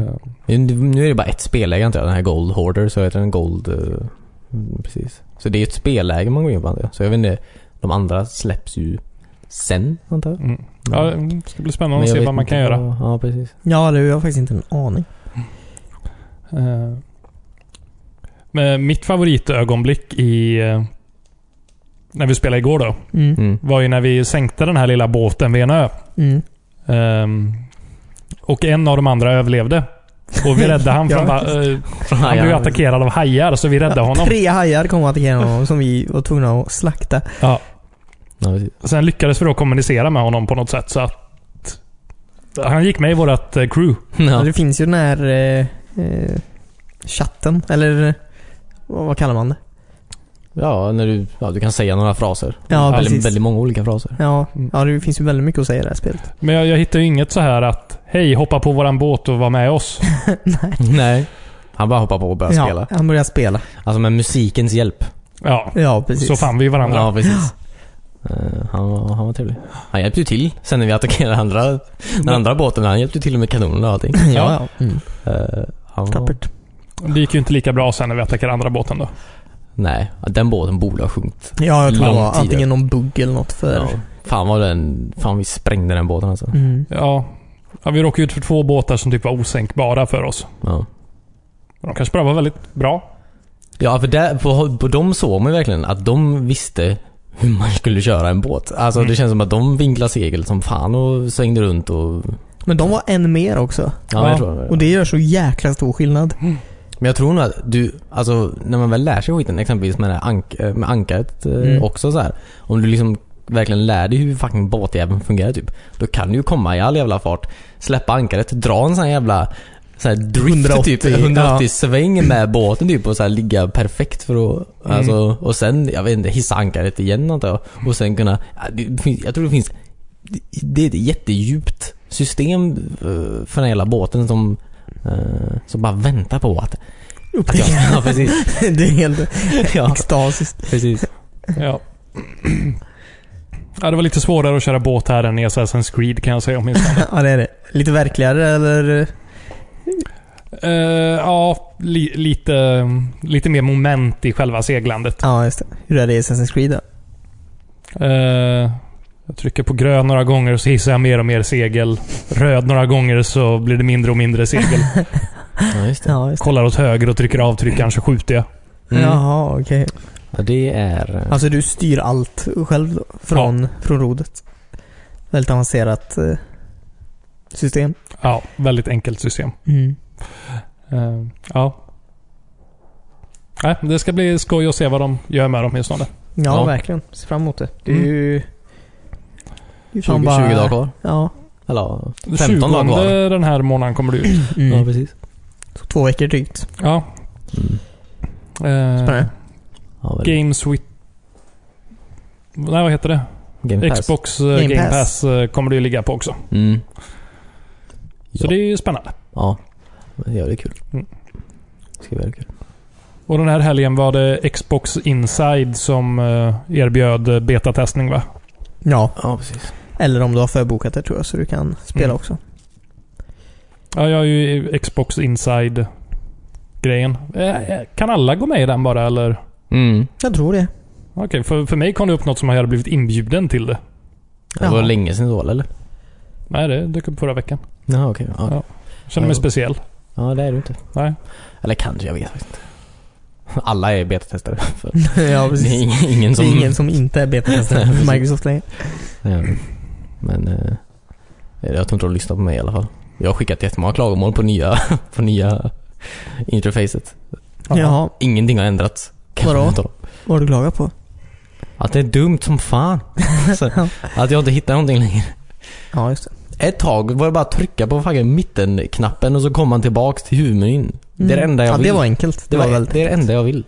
S3: Mm. Nu- Nu är det bara ett spelläge antar jag. Den här Gold Hoarder, så heter den Gold... eh, mm, precis. Så det är ett spelläge man går in på antar jag. Så jag vet inte. De andra släpps ju sen antar jag.
S2: Mm. Ja, det ska bli spännande att
S3: jag
S2: se
S3: vet
S2: vad man
S3: inte
S2: kan göra.
S3: vad- Ja, precis.
S1: Ja, det har jag faktiskt inte en aning.
S2: Eh, Men mitt favoritögonblick i... eh, När vi spelade igår då,
S1: Mm.
S3: Mm.
S2: var ju när vi sänkte den här lilla båten vid en ö.
S1: Mm.
S2: Ehm, och en av de andra överlevde. Och vi räddade han
S1: Ja,
S2: från... va- eh, han blev ju
S3: Ja,
S2: attackerad av hajar, så vi räddade honom.
S1: Tre hajar kom att attackera honom som vi var tvungna att slakta.
S2: Ja.
S3: Ja, precis.
S2: Sen lyckades vi då kommunicera med honom på något sätt, så att... Han gick med i vårt eh, crew.
S3: Ja.
S1: Det finns ju den här eh, eh, chatten, eller eh, vad vad kallar man det?
S3: Ja, när du, ja, du kan säga några fraser.
S1: Ja,
S3: väldigt,
S1: precis.
S3: väldigt många olika fraser.
S1: Ja,
S2: Mm.
S1: ja, det finns ju väldigt mycket att säga i det här spelet.
S2: Men jag, jag hittar ju inget så här att Hej, hoppa på våran båt och var med oss.
S1: Nej.
S3: Nej. Han bara hoppar på och börjar
S1: Ja,
S3: spela.
S1: han börjar spela.
S3: Alltså med musikens hjälp.
S2: Ja,
S1: Ja, precis.
S2: så fann vi ju varandra.
S3: Ja, precis. Eh, han, var, han var trevlig. Han hjälpte ju till sen när vi attackerade andra, den andra båten. Han hjälpte ju till med kanonerna och allting.
S1: ja. Mm.
S3: Eh, han var-
S1: Tappert.
S2: Det gick ju inte lika bra sen när vi attackerade andra båten då.
S3: Nej, den båten borde ha sjunkit.
S1: Ja, jag tror det var
S3: Lång tid.
S1: antingen någon bugg eller något för...
S3: Ja. Fan vad den... Fan vi sprängde den båten alltså.
S1: Mm.
S2: Ja. ja vi råkade ut för två båtar som typ var osänkbara för oss.
S3: Ja.
S2: De kanske bara var väldigt bra.
S3: Ja, för där, på, på dem såg man ju verkligen att de visste hur man skulle köra en båt. Alltså
S2: Mm.
S3: det känns som att de vinklade segel som fan och svängde runt och...
S1: Men de var en mer också.
S3: Ja,
S2: Ja,
S3: Jag tror,
S1: Och det gör så jäkla stor skillnad.
S3: Men jag tror nog att du, alltså när man väl lär sig skiten, exempelvis med, det här ank, eh, med ankaret eh,
S1: Mm.
S3: också så här. Om du liksom verkligen lär dig hur fucking båtjäveln fungerar typ. Då kan du ju komma i all jävla fart, släppa ankaret, dra en sån här jävla så här drift
S1: 180,
S3: typ, 180 sväng med båten typ och så här ligga perfekt för att, alltså, och sen, jag vet inte, hissa ankaret igen antar jag. Och sen kunna, ja, det finns- jag tror det finns, det- det är ett jättedjupt system eh, för den hela båten som, eh, som bara väntar på att att jag- Ja, precis.
S1: det är helt
S3: Ja,
S1: extasiskt.
S3: precis.
S2: Ja. ja. Det var lite svårare att köra båt här än i Assassin's Creed kan jag säga åtminstone.
S1: Ja, det är det. Lite verkligare eller?
S2: Eh, ja, li- lite, lite mer moment i själva seglandet.
S1: Ja, just det. Hur är det i Assassin's Creed då?
S2: Eh, jag trycker på grön några gånger och så hissar jag mer och mer segel. Röd några gånger så blir det mindre och mindre segel.
S3: Ja, just det.
S1: Ja, just
S2: Kollar åt höger och trycker avtryckaren så skjuter jag.
S1: det.
S3: Mm. Ja.
S1: Jaha, okej.
S3: det är... eh,
S1: Alltså du styr allt själv då? Från, från rodet? Väldigt avancerat eh, system.
S2: Ja, väldigt enkelt system.
S1: Mm.
S2: Eh, ja. Nej, det ska bli skoj att se vad de gör med dem åtminstone.
S1: Ja,
S3: Ja.
S1: verkligen. Se fram emot det. Det är
S2: Mm.
S1: ju...
S3: 20, 20 dagar kvar.
S1: Ja.
S3: Eller
S2: 20
S3: 15 dagar kvar.
S2: den här månaden kommer du ut.
S1: Mm.
S3: precis.
S1: Så två veckor drygt.
S2: Ja.
S3: Mm.
S2: Eh,
S1: Spännande.
S3: Ja, väl.
S2: Games with... Nej, vad heter det?
S3: Game Pass.
S2: Xbox eh,
S1: Game
S2: Game, Pass,
S1: Pass.
S2: eh, kommer det ju ligga på också.
S3: Mm.
S2: Så
S3: Ja.
S2: det är ju spännande.
S3: Ja. Men det är jävligt kul.
S2: Mm.
S3: Det ska bli jävligt kul.
S2: Och den här helgen var det Xbox Inside som eh, erbjöd eh, betatestning va?
S1: Ja.
S3: Ja, precis.
S1: Eller om du har förbokat det tror jag, så du kan spela
S2: Mm.
S1: också.
S2: Ja, jag är ju Xbox Inside-grejen. Eh, eh, Kan alla gå med i den bara eller?
S3: Mm.
S1: Jag tror det.
S2: Okej, för, för mig kom det upp något som jag hade blivit inbjuden till det.
S3: Det var
S1: Jaha.
S3: länge sedan då, eller?
S2: Nej, det dök upp förra veckan.
S3: Jaha, okej. Ja.
S2: Ja. Känner mig
S3: Ja.
S2: speciell.
S3: ja, det är du inte.
S2: Nej.
S3: Eller kanske, jag vet faktiskt inte. Alla är betatestare. För
S1: ja,
S3: det är
S1: precis.
S3: ingen, ingen
S1: Det
S3: som...
S1: är ingen som inte är betatestare
S3: Nej, precis.
S1: för Microsoft längre.
S3: Ja, men eh, jag tror inte de lyssnar på mig i alla fall. Jag har skickat jättemånga klagomål på nya, på nya interfacet.
S1: Jaha,
S3: Ingenting har ändrats. Kan
S1: Vadå?
S3: jag ta.
S1: vad har du klagat på?
S3: Att det är dumt som fan. Så, att jag inte hittar någonting längre.
S1: Ja, just det.
S3: Ett tag var det bara att trycka på fucking mittenknappen och så kom man tillbaks till huvudmenyn. Det är det
S1: Mm.
S3: enda jag
S1: ja,
S3: vill.
S1: det var enkelt. Det
S3: det,
S1: var väldigt
S3: det är det enda jag vill.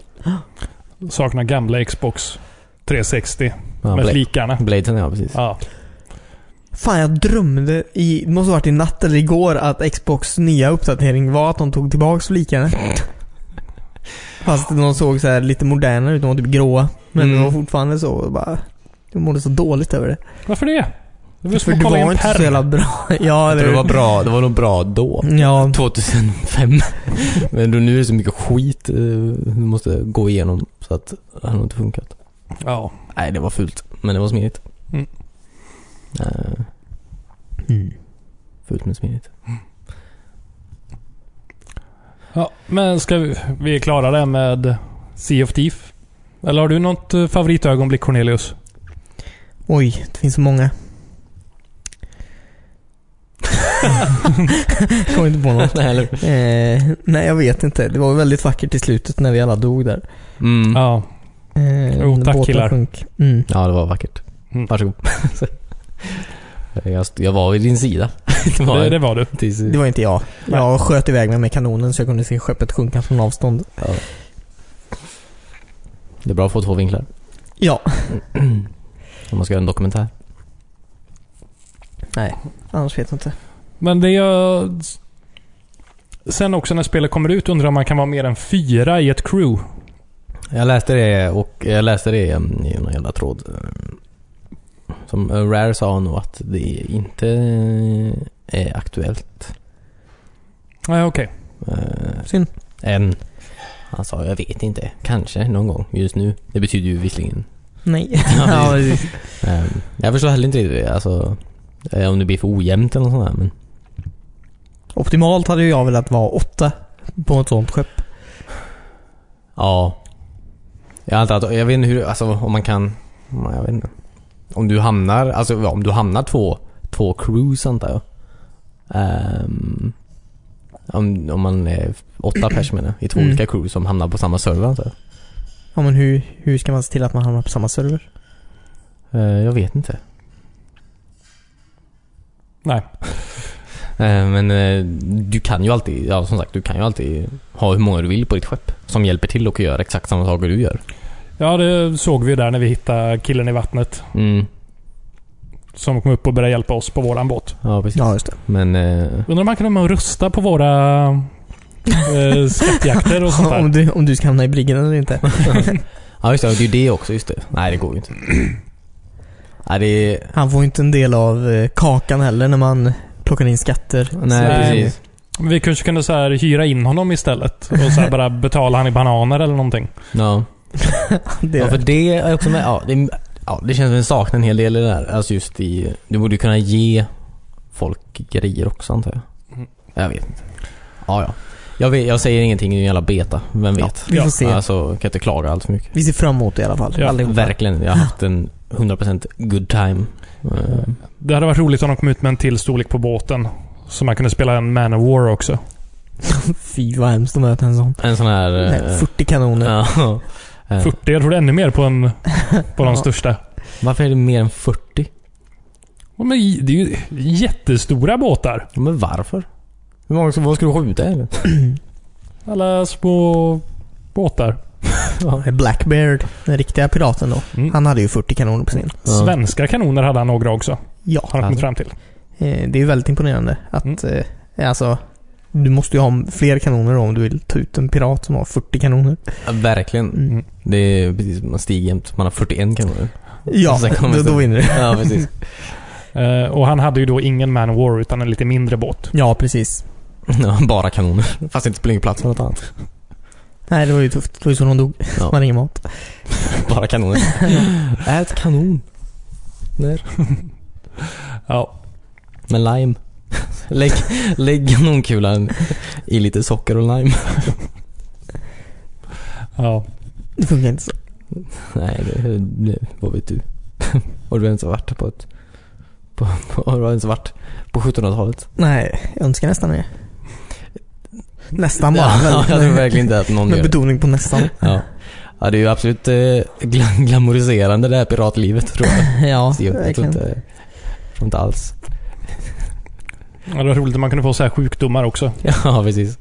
S2: Saknar gamla Xbox 360
S3: Ja,
S2: med
S3: Bla-
S2: flikarna.
S3: Bladen ja, precis.
S2: Ja.
S1: Fan, jag drömde i, det måste ha varit i natt eller igår, att Xbox nya uppdatering var att de tog tillbaks flikarna. Fast de såg så här lite modernare ut, de var typ gråa. Men
S2: Mm.
S1: de var fortfarande så, och bara... Jag mådde så dåligt över det.
S2: Varför det? Det var som
S1: För
S2: att
S1: det
S2: kolla i
S1: var
S2: en
S1: inte så jävla
S2: pärm.
S1: bra. Ja,
S3: Jag
S1: eller
S3: tror det var
S1: hur? Mm.
S3: bra, det var nog bra då.
S1: Ja,
S3: 2005. Men då nu är det så mycket skit eh, du måste gå igenom så att det har nog inte funkat.
S2: Ja.
S3: Nej, det var fult. Men det var smidigt.
S2: Mm.
S3: Eh,
S1: Mm.
S3: fult men smidigt.
S2: ja. Men ska vi, vi är klara där med Sea of Thief? Eller har du något eh, favoritögonblick Cornelius?
S1: oj, det finns så många. Kommer inte på något.
S3: Nej, eller hur?
S1: Eh, nej, jag vet inte. Det var väldigt vackert i slutet när vi alla dog där.
S3: Mm.
S2: Ja.
S3: Ja.
S1: Eh,
S2: Jo, tack,
S1: båten
S2: killar.
S1: sjönk. Mm.
S3: det var vackert.
S2: Mm.
S3: Varsågod. Så. jag, st- jag var vid din sida. det var
S2: Det,
S3: jag.
S2: det var du.
S3: Tills,
S1: Det var inte jag. Jag sköt iväg mig med kanonen så jag kunde se skeppet sjunka från avstånd.
S3: ja. det är bra att få två vinklar.
S1: Ja.
S3: Om man ska göra en dokumentär.
S1: Nej, annars vet jag inte.
S2: Men det jag... Sen också när spelet kommer ut undrar om man kan vara mer än fyra i ett crew.
S3: Jag läste det och jag läste det mm, i någon jävla tråd. Som eh, Rare sa nog att det inte eh, är aktuellt.
S2: Nej, okej.
S3: Eh,
S1: Synd.
S3: än. Han sa, jag vet inte. Kanske någon gång. Just nu. Det betyder ju visserligen.
S1: Nej.
S3: Ja,
S1: ja, det-
S3: Eh, jag förstår heller inte riktigt det. Alltså, eh, om det blir för ojämnt eller något sånt där. Men
S1: optimalt hade ju jag velat vara åtta på ett sånt skepp.
S3: Ja. Jag antar att, jag vet inte hur, alltså om man kan, ja, jag vet inte. Om du hamnar, alltså ja, om du hamnar två, två crews antar jag. Ehm, om, om man är åtta pers menar jag, i två
S1: Mm.
S3: olika crews som hamnar på samma server antar jag.
S1: Ja, men hur, hur ska man se till att man hamnar på samma server?
S3: Eh, jag vet inte.
S2: Nej.
S3: Eh, men eh, du kan ju alltid, ja som sagt, du kan ju alltid ha hur många du vill på ditt skepp. Som hjälper till och gör exakt samma saker du gör.
S2: Ja, det såg vi ju där när vi hittade killen i vattnet.
S3: Mm,
S2: Som kom upp och började hjälpa oss på våran båt.
S3: ja precis.
S1: Ja, just det.
S3: Men, eh,
S2: Undrar om man kan vara med och rösta på våra eh, skattjakter och sånt där.
S1: Om du, om du ska hamna i briggen eller inte.
S3: ja just det, det är ju det också, just det. Nej det går ju inte. Nej det är,
S1: Han får ju inte en del av eh, kakan heller när man plockar in skatter.
S3: Nej,
S1: Så- eh,
S3: precis.
S2: Vi kanske kunde så här hyra in honom istället. Och så här bara betala han i bananer eller någonting.
S3: Ja.
S1: Det
S3: ja, för det är också med, ja, det, ja, det känns som en saknar en hel del i det där. Alltså just i, du borde ju kunna ge folk grejer också antar jag.
S2: Mm.
S3: Jag vet inte. Ja, ja. Jag, vet, jag säger ingenting, det är en jävla beta. Vem vet?
S1: vi
S2: Ja,
S1: får se.
S3: Alltså, kan jag inte klaga allt för mycket.
S1: Vi ser fram emot det i alla fall.
S2: Ja,
S1: Allihopa.
S3: Verkligen. Jag har haft en 100% good time. Eh,
S2: Det hade varit roligt om de kom ut med en till storlek på båten. Så man kunde spela en Man of War också.
S1: Fy vad hemskt att möta en sån.
S3: En sån här...
S1: Nej,
S3: eh,
S1: 40 kanoner.
S3: ja. Eh,
S2: 40, jag tror det är ännu mer på, en, på de
S1: Ja.
S2: största.
S3: Varför är det mer än 40?
S2: Ja, Men det är ju jättestora båtar.
S3: Ja, Men varför? Hur många ska, vad ska du skjuta eller?
S2: Alla små båtar.
S1: Blackbeard, den riktiga piraten då.
S2: Mm.
S1: Han hade ju 40 kanoner på sin.
S3: Ja.
S2: Svenska kanoner hade han några också.
S1: Ja,
S2: Har han kommit
S3: Alltså.
S2: fram till.
S1: eh, det är ju väldigt imponerande att...
S3: Mm.
S1: Eh, alltså, du måste ju ha fler kanoner då om du vill ta ut en pirat som har 40 kanoner.
S3: Ja, verkligen.
S1: Mm.
S3: Det är precis, man stiger jämt. Man har 41 kanoner.
S1: Ja,
S3: Sen kommer
S1: då,
S3: det-
S1: då vinner du.
S3: Ja, precis.
S2: Eh, och han hade ju då ingen Man of War utan en lite mindre båt.
S1: Ja, precis.
S3: Ja, bara kanoner. Fast det inte spelar ingen plats för något annat.
S1: Nej, det var ju tufft. Det var ju så de dog.
S3: Ja.
S1: Man hade ingen mat.
S3: Bara kanoner. Ät kanon. Nej.
S2: Ja.
S3: Med lime. Lägg, lägg kanonkulan i lite socker och lime.
S2: ja.
S1: Det funkar inte så.
S3: Nej, det, det, vad vet du? Har du ens varit på ett... På, på, har du ens varit på 1700-talet?
S1: Nej, jag önskar nästan det. Nästan bara.
S3: Ja, jag tror
S1: väldigt-
S3: verkligen inte att någon
S1: med
S3: gör det.
S1: betoning på nästan.
S3: Ja. ja, det är ju absolut eh, gla- glamoriserande det här piratlivet tror jag.
S1: ja,
S3: Så jag, jag tror
S1: verkligen.
S3: inte, jag tror inte alls.
S2: Ja, Det var roligt om man kunde få så här sjukdomar också.
S3: Ja, precis.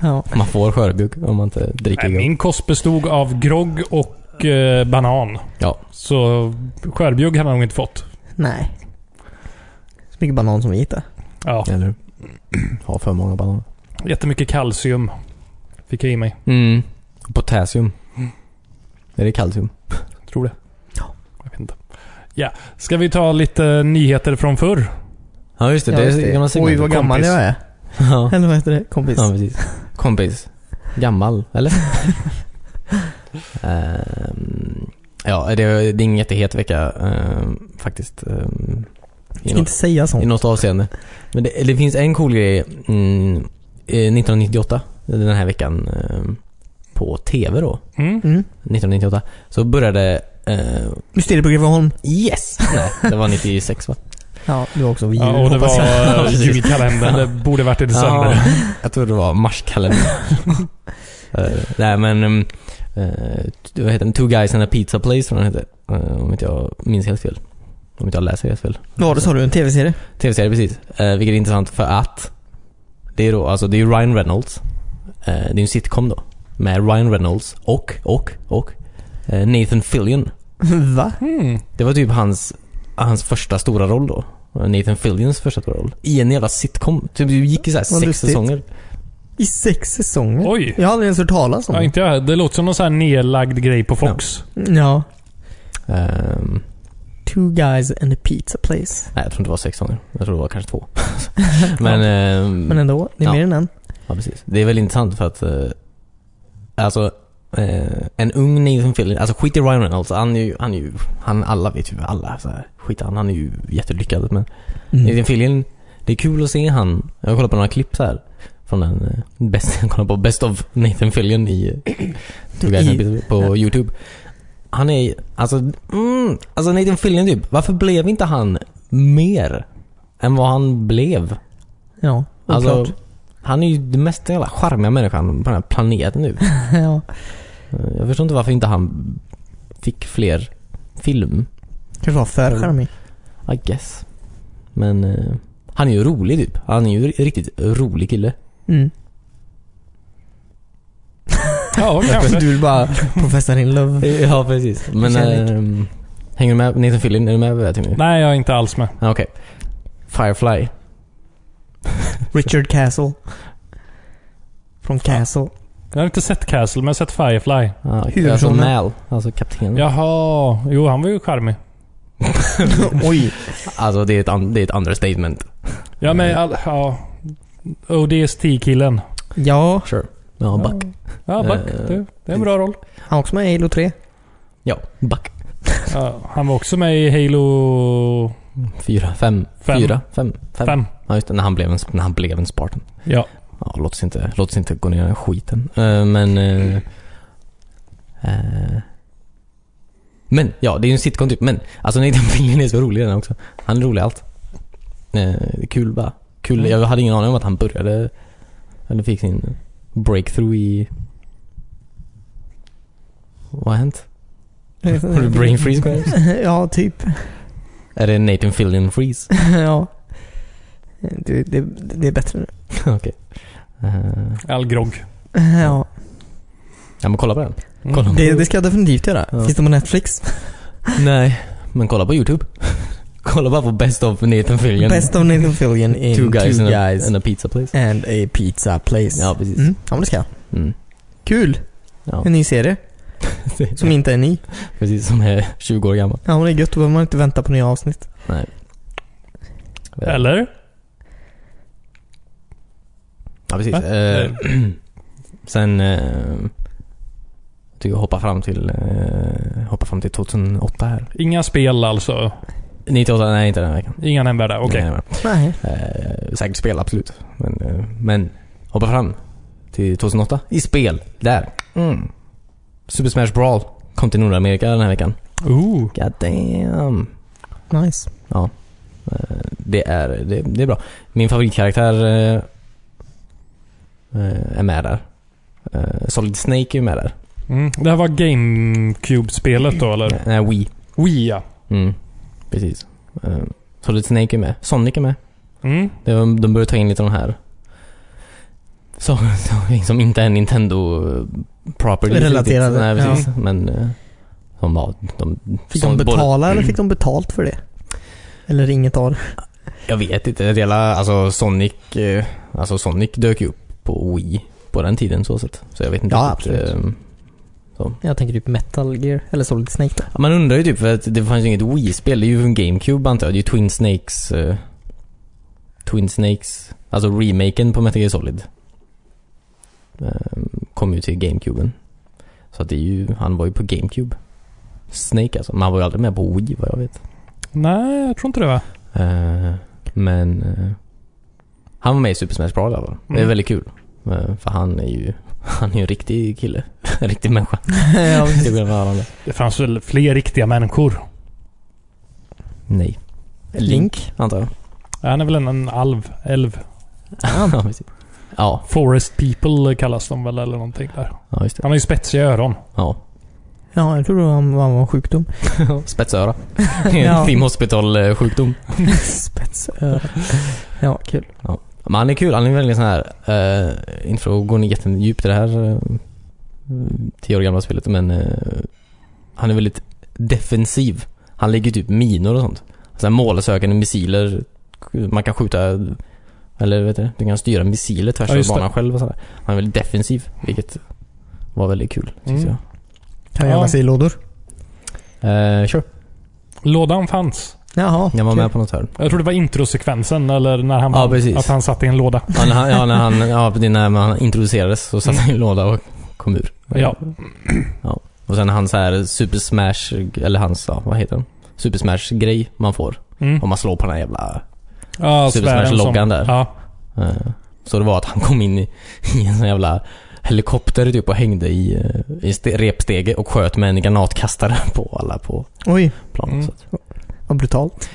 S1: Ja.
S3: Man får skörbjugg om man inte dricker
S2: Nej,
S3: Nej,
S2: min kost bestod av grogg och eh, banan.
S3: Ja.
S2: Så skörbjugg hade han nog inte fått.
S1: Nej. Så mycket banan som vi hittar.
S2: Ja.
S3: Eller hur? Har för många bananer.
S2: Jättemycket kalcium fick jag i mig.
S3: Mm. Potassium. Är det kalcium?
S2: Tror det. Jag vet inte. Ja. Ska vi ta lite nyheter från förr?
S3: Ja, just det.
S1: Ja,
S3: det
S1: just
S3: är gamla
S1: Oj,
S3: segment.
S1: vad gammal
S2: Kompis.
S1: jag är.
S3: Ja.
S1: Eller vad heter det? Kompis.
S3: ja, precis. Kompis. Gammal, eller? Ehm, ja, det, det är ingen jättehet vecka ehm, faktiskt. ehm, i något-
S1: Inte säga
S3: I
S1: sånt.
S3: något avseende. Men det, det finns en cool grej. Mm, eh, 1998, den här veckan, eh, på TV då.
S2: Mm.
S1: Mm.
S3: 1998. Så började... Eh,
S1: Mysteriet på Greveholm.
S3: yes! Nej, det var 96 va?
S1: Ja, du var också vid jul,
S2: Ja, och det
S1: hoppas
S2: var
S1: jag.
S2: eh, julkalendern. Det borde varit i december.
S3: Ja, jag tror det var marskalendern. Eh, Nej men, um, eh, t- vad heter den? Two guys and a pizza place tror jag den hette. Eh, om inte jag minns helt fel. Om inte jag läser helt fel.
S1: Vad var det, sa du? En tv-serie?
S3: Tv-serie, precis. Eh, vilket är intressant för att det är då, alltså det är ju Ryan Reynolds. Eh, det är ju en sitcom då. Med Ryan Reynolds och, och, och eh, Nathan Fillion.
S1: Va?
S2: Mm.
S3: Det var typ hans, hans första stora roll då. Nathan Fillions första stora roll. I en jävla sitcom. Typ det gick i så här
S1: Vad
S3: sex
S1: lustigt.
S3: säsonger.
S1: I sex säsonger?
S2: Oj!
S1: Jag har aldrig ens hört talas om
S2: Ja,
S1: det.
S2: inte jag. Det låter som någon så här nedlagd grej på Fox.
S1: Ja.
S3: Ehm,
S1: Two guys and a pizza
S2: Mm.
S1: place.
S3: Nej, jag tror inte det var sex sånger. Jag tror det var kanske två. men, ehm,
S1: Men ändå, det är
S3: Ja.
S1: mer än en.
S3: ja, precis. Det är väl intressant för att, eh, alltså, eh, en ung Nathan Fillion, alltså skit i Ryan Reynolds, han är ju, han är ju, han, alla vet ju, alla så här, skit i han, han är ju jättelyckad. Men
S1: Mm.
S3: Nathan Fillion, det är kul att se han. Jag har kollat på några klipp så här. Från den, eh, best, jag kollar på Best of Nathan Fillion i, Two Guys and a Pizza på youtube. Han är, alltså, mm, alltså Nathan Fillion typ. Varför blev inte han mer än vad han blev?
S1: Ja,
S3: Alltså,
S1: oklart.
S3: han är ju den mest jävla charmiga människan på den här planeten nu.
S1: ja.
S3: Eh, Jag förstår inte varför inte han fick fler film,
S1: Kanske var för charmig.
S3: I guess. Men eh, han är ju rolig typ. Han är ju en riktigt rolig kille.
S1: Mm.
S2: Ja, kanske.
S1: Du vill bara professor in love.
S3: Ja, precis. Men,
S1: Kärlek.
S3: ehm, hänger du med? Nathan Fillion, är du med på det här Timmy?
S2: Nej, jag är inte alls med.
S3: Ah, Okej. Firefly.
S1: Richard Castle. Från Castle.
S2: Jag har inte sett Castle, men jag har sett Firefly.
S3: Ah,
S1: Huvudpersonen.
S3: alltså Mal, alltså kaptenen.
S2: Jaha. Jo, han var ju charmig.
S1: Oj.
S3: Alltså det är, ett un- det är ett understatement.
S2: Ja,
S3: Mm.
S2: men... All, ja. ODST-killen.
S1: Ja,
S3: Sure. Ja, Buck.
S2: Ja, Buck.
S3: Eh,
S2: Det, det är en bra roll.
S1: han är också med i Halo 3.
S3: Ja, Buck.
S2: Ja, han var också med i Halo
S3: Fyra, fem,
S2: Fem.
S3: fyra, fem, fem.
S2: 5.
S3: Ja, just det, när han blev en, när han blev en Spartan.
S2: Ja.
S3: Ja, låt oss inte, låt oss inte gå ner i den här skiten. Eh, men... eh, eh, men, ja, det är ju en sitcom typ. Men, alltså Nathan Fillion är så rolig i den också. Han är rolig i allt. Eh, kul bara. Kul.
S2: Mm.
S3: Jag hade ingen aning om att han började... Eller fick sin breakthrough i... Vad har hänt? Har du brain freeze på det?
S1: Ja, typ.
S3: Är det Nathan Fillion freeze?
S1: ja. Det, det, det är bättre nu.
S3: Eh,
S2: Al Grog.
S1: ja.
S3: ja men kolla på den.
S2: Mm.
S3: Kolla.
S1: Det, det ska jag definitivt göra.
S3: Ja.
S1: Finns det på Netflix?
S3: Nej. Men kolla på YouTube. kolla bara på Best of Nathan Fillion.
S1: Best of Nathan Fillion in
S3: two guys,
S1: two
S3: and,
S1: guys
S3: A, and a pizza place.
S1: and a pizza place.
S3: Ja, precis.
S1: Mm. Ja, men det ska jag.
S3: Mm.
S1: Kul!
S3: Ja.
S1: En ny serie. Som inte är ny.
S3: Precis, som är 20 år gammal.
S1: Ja, men det är gött. Då behöver man inte vänta på nya avsnitt.
S2: Eller?
S3: Ja, precis.
S2: Va?
S3: Eh, sen... Eh, jag tycker jag hoppa fram till... Eh, hoppa fram till 2008 här.
S2: Inga spel alltså.
S3: 98, nej inte den här veckan.
S2: Inga nämnvärda. Okej.
S3: Nej,
S1: Nej.
S3: nej. eh, säkert spel, absolut. Men, eh, men hoppa fram till 2008. I spel. Där. Mm. Super Smash Brawl kom till Nordamerika den här veckan.
S2: Ooh.
S3: God damn.
S1: Nice.
S3: Det är, det, det är bra. Min favoritkaraktär eh, eh, är med där. Eh, Solid Snake är med där.
S2: Mm. Det här var GameCube-spelet då, eller?
S3: Nej, Wii.
S2: Wii, ja.
S3: Mm, precis. Eh, Solid Snake är med. Sonic är med.
S2: Mm.
S3: Det var- De började ta in lite de här så, så, som inte är Nintendo eh, property.
S1: Relaterade,
S3: riktigt. Nej, precis. Men eh, som var... De,
S1: Fick
S3: som
S1: de
S3: både- Mm.
S1: betala eller fick de betalt för det? Eller inget av det?
S3: Jag vet inte. Hela, alltså Sonic, eh, alltså Sonic dök ju upp på Wii på den tiden så sett. Så jag vet inte.
S1: Ja,
S3: riktigt,
S1: absolut.
S3: eh,
S1: Jag tänker typ Metal Gear, eller Solid Snake då.
S3: ja, man undrar ju typ för att det fanns ju inget Wii-spel. Det är ju en GameCube antar jag. Det är ju Twin Snakes... eh, Twin Snakes, alltså remaken på Metal Gear Solid. eh, kom ju till GameCuben. Så att det är ju, han var ju på GameCube. Snake alltså. Men han var ju aldrig med på Wii vad jag vet.
S2: Nej, jag tror inte det va?
S3: Eh, men eh, han var med i Super Smash Bros. i alla fall. Det är
S2: Mm.
S3: väldigt kul. Eh, för han är ju han är ju en riktig kille. En riktig människa.
S1: ja,
S3: Till skillnad från alla andra.
S2: Det fanns väl fler riktiga människor?
S3: Nej.
S1: Link.
S3: Antar jag.
S2: Han är väl en, en alv? Elv?
S3: ja, precis. Ja,
S2: Forest people kallas de väl, eller någonting där.
S3: ja, just det.
S2: Han har ju spetsiga öron.
S3: Ja.
S1: ja, jag tror det var han var en sjukdom.
S3: Spetsöra. Det är
S1: Ja.
S3: en Theme Hospital-sjukdom.
S1: Spetsöra. Ja, kul.
S3: Men han är kul. Han är väldigt sån här, eh, inte för att gå ner jättedjupt i det här eh, tio år gamla spelet, men eh, han är väldigt defensiv. Han lägger typ minor och sånt. Alltså målsökande missiler. Man kan skjuta, eller vet du, du kan styra missiler tvärs
S2: Ja,
S3: över
S2: just det.
S3: banan själv och sådär. Han är väldigt defensiv, vilket var väldigt kul tyckte
S2: Mm.
S3: jag.
S1: Kan
S2: Ja.
S1: gömma sig i lådor.
S3: Eh, kör.
S2: Lådan fanns.
S1: Jaha.
S3: Jag var
S1: okej.
S3: med på något hörn.
S2: Jag tror det var introsekvensen, eller när han
S3: Ja,
S2: vann,
S3: precis.
S2: Att han satt i en låda.
S3: Ja, när han, ja, när han, ja, precis, när han introducerades så satt han i en låda och kom ur.
S2: Ja.
S3: Och sen hans så här Super Smash, eller hans, ja, vad heter den? Super Smash-grej man får.
S2: Mm.
S3: Om man slår på den här jävla...
S2: ja
S3: Super
S2: sfären
S3: Smash-loggan
S2: som-
S3: där.
S2: Ja.
S3: eh, Så det var att han kom in i, i en sån jävla helikopter typ och hängde i, eh, i ste- repstege och sköt med en granatkastare på alla på
S1: Oj,
S3: planen.
S2: Mm.
S3: Så att
S1: vad brutalt.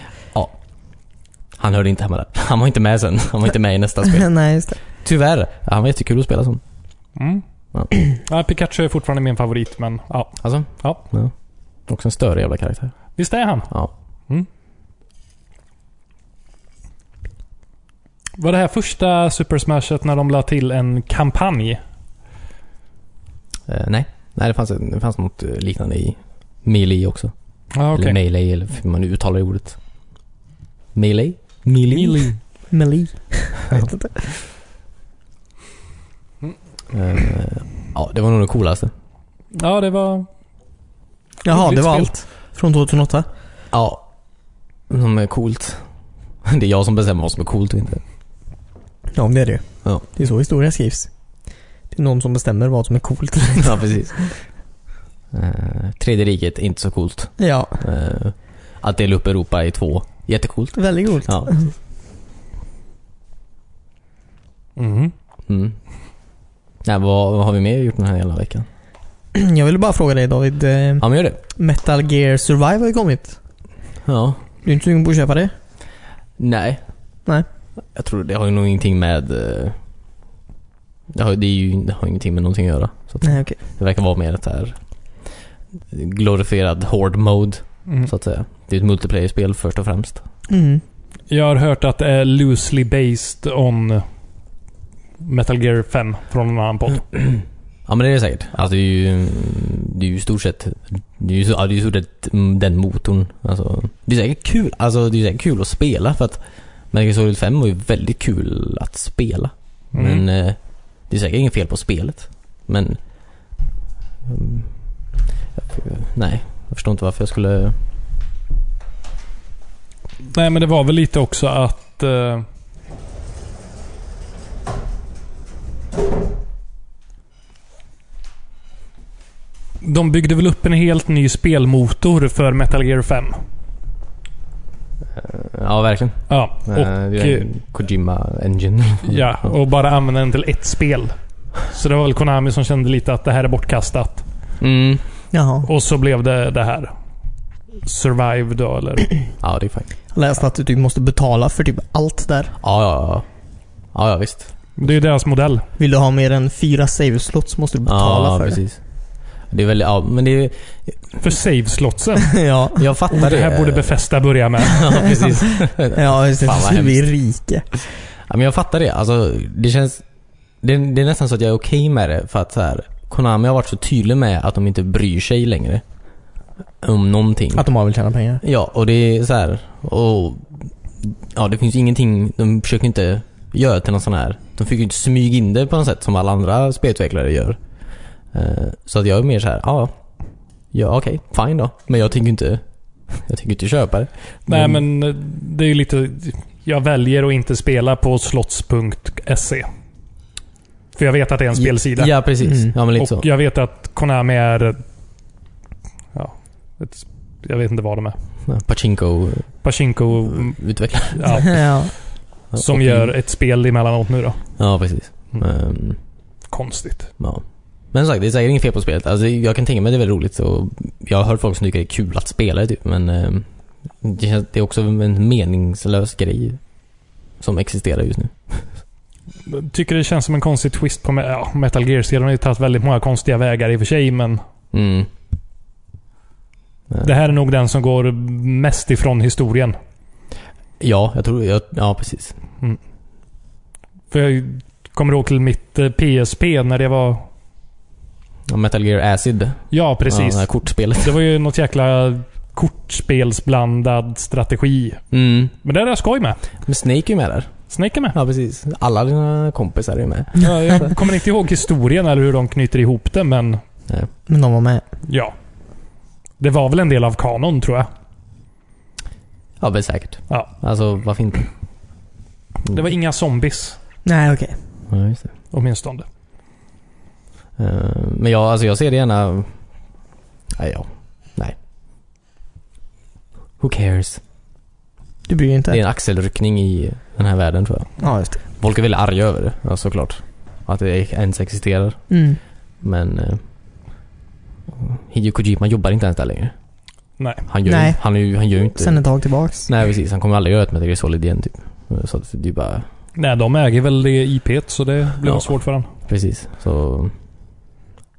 S3: han hörde inte hemma där. Han var inte med sen. Han var inte med i nästa spel.
S1: Nej, just det.
S3: Tyvärr. Han var jättekul att spela som.
S2: Mm.
S3: Ja.
S2: Ja, Pikachu är fortfarande min favorit, men ja.
S3: Alltså?
S2: Ja.
S3: Också en större jävla karaktär.
S2: Visst är han?
S3: Ja.
S2: Mm. Var det här första Super Smashet när de la till en kampanj?
S3: Eh, nej. Nej, det fanns, det fanns något eh, liknande i Melee också.
S2: Ja,
S3: Eller Melee, eller hur man nu uttalar ordet. Melee? Melee?
S1: Melee. Jag vet inte.
S3: Eh, ja, det var nog det coolaste.
S2: Ja, det var...
S1: Jaha, det var
S2: Roligt
S1: allt. Från 2008.
S3: Ja. Som är coolt. Det är jag som bestämmer vad som är coolt och inte.
S1: Ja, men det är det ju.
S3: Ja.
S1: Det är så historia skrivs. Det är någon som bestämmer vad som är coolt.
S3: ja, precis. Eh, Tredje riket, inte så coolt.
S1: ja,
S3: Eh, att dela upp Europa i två, jättecoolt.
S1: väldigt coolt.
S3: Ja.
S2: Mhm.
S3: Mm. Nej, vad, vad har vi mer gjort den här hela veckan?
S1: Jag ville bara fråga dig David. eh,
S3: Ja, men gör det.
S1: Metal Gear Survive har ju kommit.
S3: Ja.
S1: Du är inte sugen på att köpa det?
S3: Nej.
S1: Nej.
S3: Jag tror det har ju nog ingenting med... eh, Det har, det, är ju, det har ingenting med någonting att göra. Så att
S1: Nej, okej.
S3: det verkar vara mer ett här glorifierad horde mode,
S2: Mm.
S3: så att säga. Det är ett multiplayer-spel först och främst.
S1: Mm.
S2: Jag har hört att det är loosely based on Metal Gear 5 från en annan podd.
S3: Ja men det är det säkert. Alltså det är ju, mm, det är ju i stort sett, det är ju, så- ja, det är ju i stort sett mm, den motorn. Alltså, det är säkert kul, alltså det är ju säkert kul att spela för att Metal Gear Solid 5 var ju väldigt kul att spela.
S2: Mm.
S3: Men eh, det är säkert inget fel på spelet. Men... mm, Jag, nej, jag förstår inte varför jag skulle...
S2: Nej, men det var väl lite också att... eh, De byggde väl upp en helt ny spelmotor för Metal Gear 5.
S3: Ja, verkligen.
S2: Ja,
S3: Eh,
S2: och,
S3: det är en Kojima Engine.
S2: ja, och bara använde den till ett spel. Så det var väl Konami som kände lite att det här är bortkastat.
S3: Mm.
S1: Jaha.
S2: Och så blev det det här. Survive då, eller?
S3: Ja, det är fint.
S1: Jag läste att du typ måste betala för typ allt där.
S3: Ja, ja, ja. Ja, ja visst.
S2: Det är ju deras modell.
S1: Vill du ha mer än fyra save-slots måste du betala
S3: ja,
S1: för
S3: precis. Det är väl, ja, men det är,
S2: För save-slotsen.
S1: det. ja.
S3: jag fattar
S2: Det här borde Befesta börja med.
S3: ja, precis.
S1: Ja, just det.
S3: Fan, vad Mm.
S1: Så vi är rika.
S3: Ja, men jag fattar det. Alltså, det känns... Det, det är nästan så att jag är okej med det för att så här, Konami har varit så tydlig med att de inte bryr sig längre. Om någonting.
S1: Att de har väl tjäna pengar.
S3: Ja, och det är så här, och Ja, det finns ju ingenting. De försöker inte göra till någon sån här... De fick ju inte smyga in det på något sätt som alla andra spelutvecklare gör. Eh, så att jag är mer så här, ja. Ja, okej. fine då. Men jag tänker inte... Jag tänker inte köpa det.
S2: Nej, men eh, det är ju lite... Jag väljer att inte spela på slotts.se. E. För jag vet att det är en spelsida.
S3: Ja, precis.
S1: Mm.
S3: Ja, men lite
S2: och
S3: så.
S2: jag vet att Konami är... eh, Ja, ett, jag vet inte vad de är.
S3: Pachinko-utvecklare.
S2: Pachinko... mm, Ja,
S1: ja.
S2: som
S3: Och-
S2: gör ett spel emellanåt nu då.
S3: Ja, precis.
S2: Mm.
S3: Ehm,
S2: Konstigt.
S3: ja. Men som sagt, det är säkert inget fel på spelet. Alltså, jag kan tänka mig att det är väldigt roligt. Och jag har hört folk som tycker det är kul att spela det, typ, men ehm, det känns- det är också en meningslös grej som existerar just nu.
S2: Tycker det känns som en konstig twist på me- ja, Metal Gear-serien. har ju tagit väldigt många konstiga vägar i och för sig, men
S3: Mm. Typ.
S2: det här är nog den som går mest ifrån historien.
S3: Ja, jag tror... Jag, ja, precis.
S2: För jag kommer ihåg till mitt eh, PSP när det var...
S3: Ja, Metal Gear Acid.
S2: Ja,
S3: Ja,
S2: precis.
S3: det här kortspelet.
S2: Det var ju något jäkla kortspelsblandad strategi.
S3: Mm.
S2: Men det är jag skoj med.
S3: Men Snake är ju med där.
S2: Snake är med.
S3: Ja, precis. Alla dina kompisar är ju med.
S2: Ja, Jag kommer inte ihåg historien eller hur de knyter ihop det, men
S1: Men de var med.
S2: ja. Det var väl en del av kanon, tror jag.
S3: Ja, men säkert.
S2: Ja.
S3: Alltså, varför inte?
S2: Det var inga zombies,
S1: Nej, okej.
S3: Ja, just det.
S2: åtminstone.
S3: Eh, Men jag, alltså jag ser det gärna... Nej, ja. Nej. Who cares?
S1: Du bryr dig inte?
S3: Det är en axelryckning i den här världen tror jag.
S1: Ja, just
S3: Folk är väldigt arga över det, ja, såklart. Att det ens existerar.
S1: det. Mm.
S3: Men... Eh, Hideo Kojima jobbar inte ens där längre.
S2: Nej.
S3: Han gör,
S1: Nej.
S3: ju- Han, är ju- han gör ju inte...
S1: Sen ett tag tillbaks.
S3: Nej precis, han kommer aldrig göra ett Metal Gear Solid igen typ. Så att det är bara...
S2: Nej, de äger väl det IP så det blir
S3: Ja.
S2: nog svårt för honom.
S3: Precis. Så...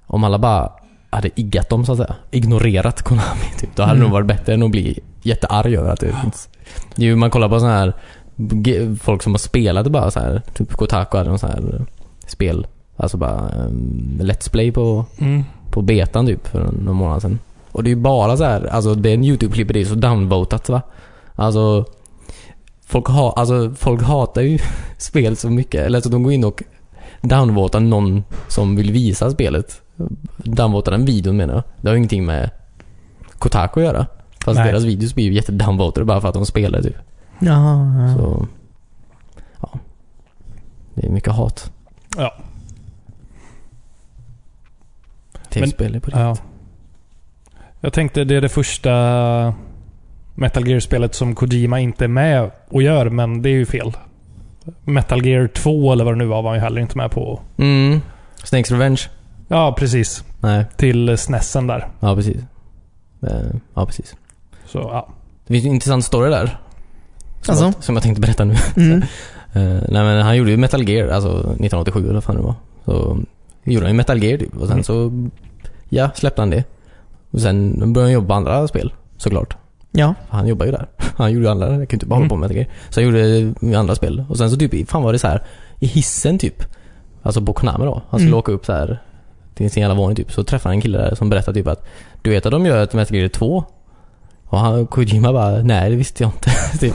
S3: Om alla bara hade iggat dem så att säga. Ignorerat Konami typ. Då hade det
S1: Mm.
S3: nog varit bättre än att bli jättearg över att det finns. Det är ju, man kollar på sådana här ge- folk som har spelat det bara så här. Typ Kotaku hade någon sån här spel. Alltså bara um, Let's Play på,
S2: Mm.
S3: på betan typ för någon månad sedan. Och det är ju bara så här, alltså den YouTube-klippet är ju så downvotat va. Alltså folk, ha, alltså folk hatar ju spel så mycket. Eller så de går in och downvotar någon som vill visa spelet. Downvotar den videon menar jag. Det har ju ingenting med Kotaku att göra. Fast
S2: Nej.
S3: deras videos blir ju jättedownvotade bara för att de spelar typ.
S1: Jaha.
S2: Mm.
S1: ja.
S3: Så, ja. Det är mycket hat.
S2: Ja.
S3: Tv-spel är på det.
S2: Ja. Jag tänkte det är det första Metal Gear-spelet som Kojima inte är med och gör, men det är ju fel. Metal Gear 2 eller vad det nu var var han ju heller inte med på.
S3: Mm. Snakes Revenge.
S2: Ja, precis.
S3: Nej,
S2: Till snessen där.
S3: ja precis. Eh, Ja, precis.
S2: Så ja.
S3: Det finns en intressant story där. Som,
S1: Alltså?
S3: jag, som jag tänkte berätta nu.
S1: Mm.
S3: Eh, nej men han gjorde ju Metal Gear, alltså 1987 eller vad fan det var. Så gjorde han ju Metal Gear typ och sen
S2: Mm.
S3: så, ja, släppte han det. Och sen började han jobba på andra spel, såklart.
S1: Ja.
S3: För Han jobbar ju där. Han gjorde ju andra, jag kan ju inte bara hålla
S2: Mm.
S3: på med Metal Gear. Så han gjorde andra spel. Och sen så typ, fan var det så här i hissen typ. Alltså på Konami då. Han skulle
S1: Mm.
S3: åka upp så här till sin jävla våning typ. Så träffade han en kille där som berättade typ att du vet att de gör ett Metal Gear 2? Och han, Kojima bara, nej det visste jag inte. typ.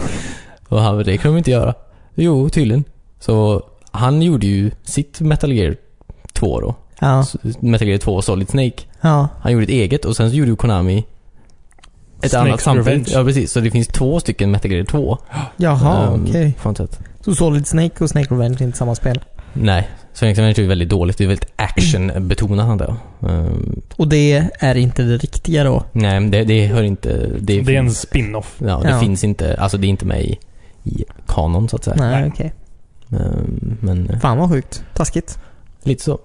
S3: Och han bara, det kan de inte göra. Jo, tydligen. Så han gjorde ju sitt Metal Gear 2 då.
S1: Ja.
S3: S- Metal Gear 2 Solid Snake.
S1: Ja.
S3: Han gjorde ett eget och sen så gjorde ju Konami ett
S2: Snakes
S3: annat samtidigt.
S2: Revenge.
S3: Ja precis, så det finns två stycken Metal Gear 2.
S1: Jaha,
S3: Ehm,
S1: okej.
S3: på något sätt.
S1: Så Solid Snake och Snake Revenge är inte samma spel?
S3: Nej, Snakes Revenge är ju väldigt dåligt. Det är väldigt actionbetonat antar jag. Ehm,
S1: Och det är inte det riktiga då?
S3: nej, men det, det hör inte... Det,
S2: Det är en
S3: finns-
S2: spin-off.
S3: Ja, det
S1: Ja.
S3: finns inte. Alltså det är inte med i, i kanon så att säga.
S1: Nej,
S2: Nej.
S1: okej.
S3: Ehm, men eh,
S1: Fan vad sjukt. Taskigt.
S3: lite så.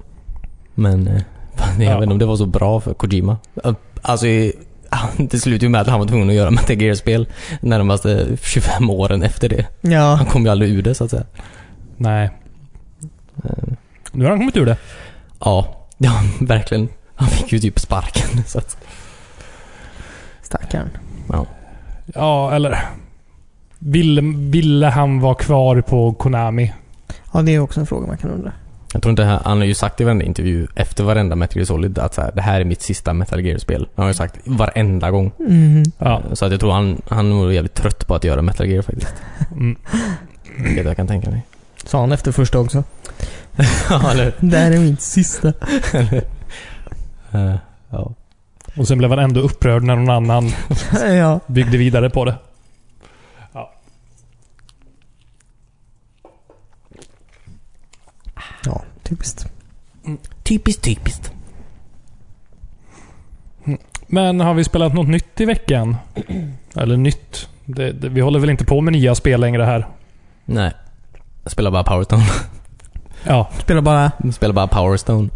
S3: Men eh, fan, jag
S2: Ja.
S3: vet inte om det var så bra för Kojima. Eh, Alltså, eh, han- det slutade ju med att han var tvungen att göra Metal Gear-spel närmaste 25 åren efter det. Han
S1: Ja.
S3: kom ju aldrig ur det så att säga.
S2: Nej. Mm.
S3: Eh,
S2: Nu har han kommit ur det.
S3: Ja, ja verkligen. Han fick ju typ sparken. Så att,
S1: Stackarn.
S2: Ja, eller... Ville, ville han vara kvar på Konami?
S1: Ja, det är också en fråga man kan undra.
S3: jag tror inte han, han har ju sagt i varenda intervju efter varenda Metal Gear Solid att så här, det här är mitt sista Metal Gear-spel. Han har ju sagt varenda gång.
S1: Mm.
S2: Ja.
S3: Så att jag tror han, han var jävligt trött på att göra Metal Gear faktiskt.
S2: Mm.
S3: Vilket jag kan tänka mig.
S1: Sa han efter första också.
S3: ja, eller,
S1: Det här är mitt sista.
S3: eller, eh, ja.
S2: Och sen blev han ändå upprörd när någon annan
S1: ja.
S2: byggde vidare på det.
S1: Ja, typiskt.
S3: Typiskt, typiskt.
S2: Men har vi spelat något nytt i veckan? Eller nytt? Det, det, vi håller väl inte på med nya spel längre här?
S3: Nej. Jag spelar bara Powerstone.
S2: Ja,
S1: Spelar bara
S3: Jag spelar bara Powerstone.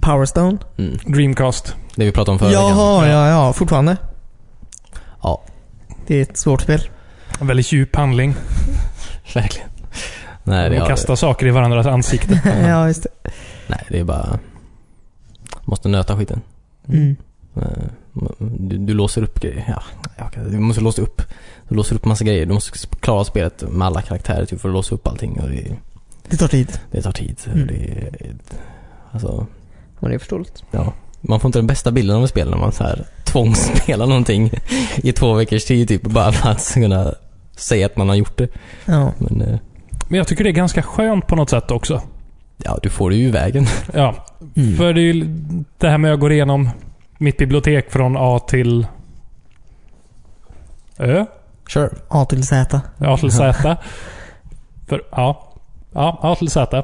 S1: Powerstone.
S3: Mm.
S2: Dreamcast.
S3: Det vi pratade om förra veckan.
S1: Jaha, ja, ja. Fortfarande?
S3: Ja.
S1: Det är ett svårt spel.
S2: En väldigt djup handling.
S3: Verkligen. Nej, det,
S2: och
S3: ja,
S2: kasta saker i varandras ansikte.
S1: ja, just det.
S3: nej, det är bara... Måste nöta skiten.
S1: Mm.
S3: Eh, Du, du låser upp grejer. Ja, jag kan- du måste låsa upp. Du låser upp massa grejer. Du måste s- klara spelet med alla karaktärer typ, för att låsa upp allting. Och det,
S1: Det tar tid.
S3: det tar tid. Och
S1: Mm.
S3: Det, alltså,
S1: Och det är förståeligt.
S3: ja. Man får inte den bästa bilden av ett spel när man så här tvångsspelar någonting i två veckors tid typ, bara för att kunna säga att man har gjort det.
S1: Ja.
S3: Men eh,
S2: Men jag tycker det är ganska skönt på något sätt också.
S3: ja, du får det ju i vägen.
S2: Ja, För det är ju det här med att gå igenom mitt bibliotek från A till Ö.
S3: Sure.
S1: A till Z.
S2: A till Z. För, ja. Ja, A till Z.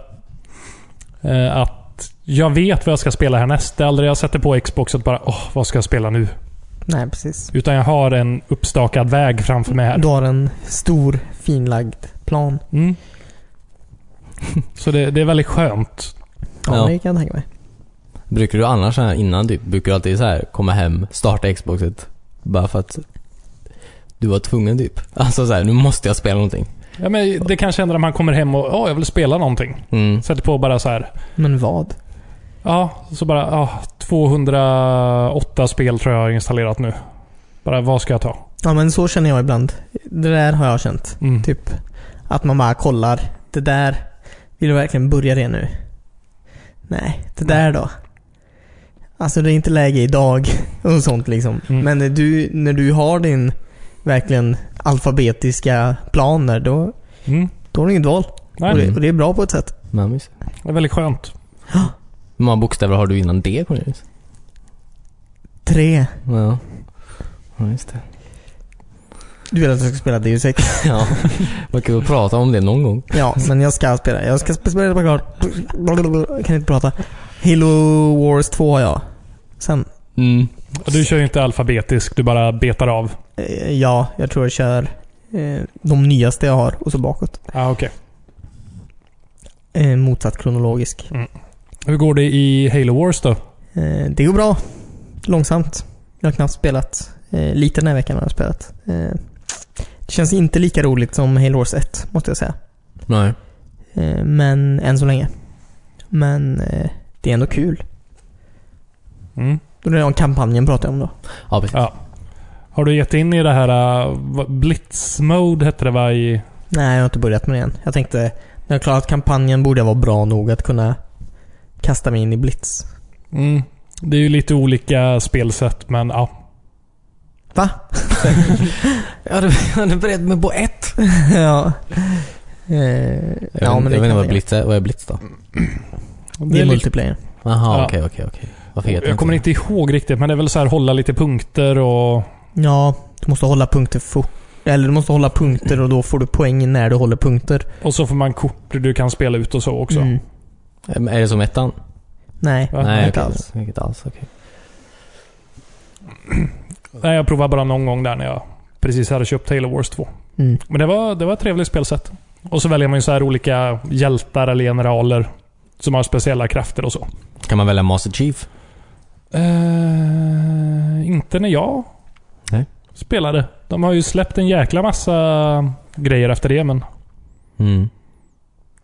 S2: Eh, att jag vet vad jag ska spela härnäst. Det är aldrig jag sätter på Xboxet bara åh, vad ska jag spela nu?
S1: Nej, precis.
S2: Utan jag har en uppstakad väg framför mig här.
S1: Du har en stor finlagd plan.
S2: Mm. Så det, det är väldigt skönt.
S1: Ja,
S3: Ja.
S1: det kan jag tänka mig.
S3: Brukar du annars så här innan typ, brukar du alltid så här komma hem, starta Xboxet? Bara för att du var tvungen typ. Alltså så här, nu måste jag spela någonting.
S2: Ja, men det kan känna när man kommer hem och åh, jag vill spela någonting.
S3: Mm.
S2: Sätter på bara så här.
S1: Men vad?
S2: Ja, så bara ja, 208 spel tror jag har installerat nu. Bara vad ska jag ta?
S1: Ja, men så känner jag ibland. Det där har jag känt.
S2: Mm.
S1: Typ att man bara kollar. Det där. Vill du verkligen börja det nu? Nej, det där då? Alltså det är inte läge idag och sånt liksom.
S2: Mm.
S1: Men när du, när du har din verkligen alfabetiska plan där, då,
S2: Mm.
S1: då har du inget val.
S2: Nej,
S1: Och det,
S3: Mm.
S1: och det är bra på ett sätt.
S3: Mammis.
S2: det är väldigt skönt.
S3: Hur många bokstäver har du innan D Cornelius?
S1: Tre.
S3: Ja. Ja, just det.
S1: Du vill att jag ska spela Deus Ex?
S3: Ja. Vad kul att prata om det någon gång.
S1: Ja, men jag ska spela. Jag ska spela på klart. Kan inte prata. Halo Wars 2 har jag. Sen,
S3: Mm.
S2: Ja, Du kör ju inte alfabetisk, du bara betar av.
S1: eh, ja, jag tror jag kör eh, de nyaste jag har och så bakåt.
S2: Ah, okej.
S1: Eh, motsatt kronologisk.
S2: Hur går det i Halo Wars då?
S1: Eh, det går bra. Långsamt. Jag har knappt spelat. Eh, lite den här veckan har jag spelat. Eh, det känns inte lika roligt som Halo Wars 1, måste jag säga.
S3: Nej.
S1: Eh, men, än så länge. Men, eh, det är ändå kul.
S2: Mm.
S1: Då är det om kampanjen pratar jag om då.
S3: Ja, precis.
S2: Ja. Har du gett in i det här uh, vad- Blitz-mode hette det va? I...
S1: Nej, jag har inte börjat med det än. Jag tänkte, när jag har klarat kampanjen borde jag vara bra nog att kunna kasta mig in i Blitz.
S2: Mm. Det är ju lite olika spelsätt men ja.
S1: Va?
S3: Jag hade, jag hade beredd mig på ett.
S1: ja. Eh,
S3: Jag, ja, men jag
S1: det
S3: vet inte
S1: kan
S3: vad
S1: jag.
S3: Blitz är. Vad är Blitz då?
S1: Det är
S2: lite-
S1: multiplayer.
S3: Jaha,
S2: Ja.
S3: okej, okej, okej. Varför heter
S2: Jag kommer
S3: det?
S2: inte ihåg riktigt men det är väl så här hålla lite punkter och...
S1: Ja, du måste hålla punkter fort. Eller du måste hålla punkter och då får du poäng när du håller punkter.
S2: Och så får man kort du kan spela ut och så också.
S1: Mm.
S3: Ehm, Är det som ettan?
S1: Nej.
S2: Ja,
S3: Nej,
S1: inte
S3: okej.
S1: alls.
S3: Inte alls, okej.
S2: Nej, jag provade bara någon gång där när jag precis hade köpt Halo Wars 2.
S1: Mm.
S2: Men det var, det var ett trevligt spelsätt. Och så väljer man ju så här olika hjältar eller generaler som har speciella krafter och så.
S3: Kan man välja Master Chief?
S2: Eh, inte när jag
S3: Nej.
S2: spelade. De har ju släppt en jäkla massa grejer efter det, men
S3: Mm.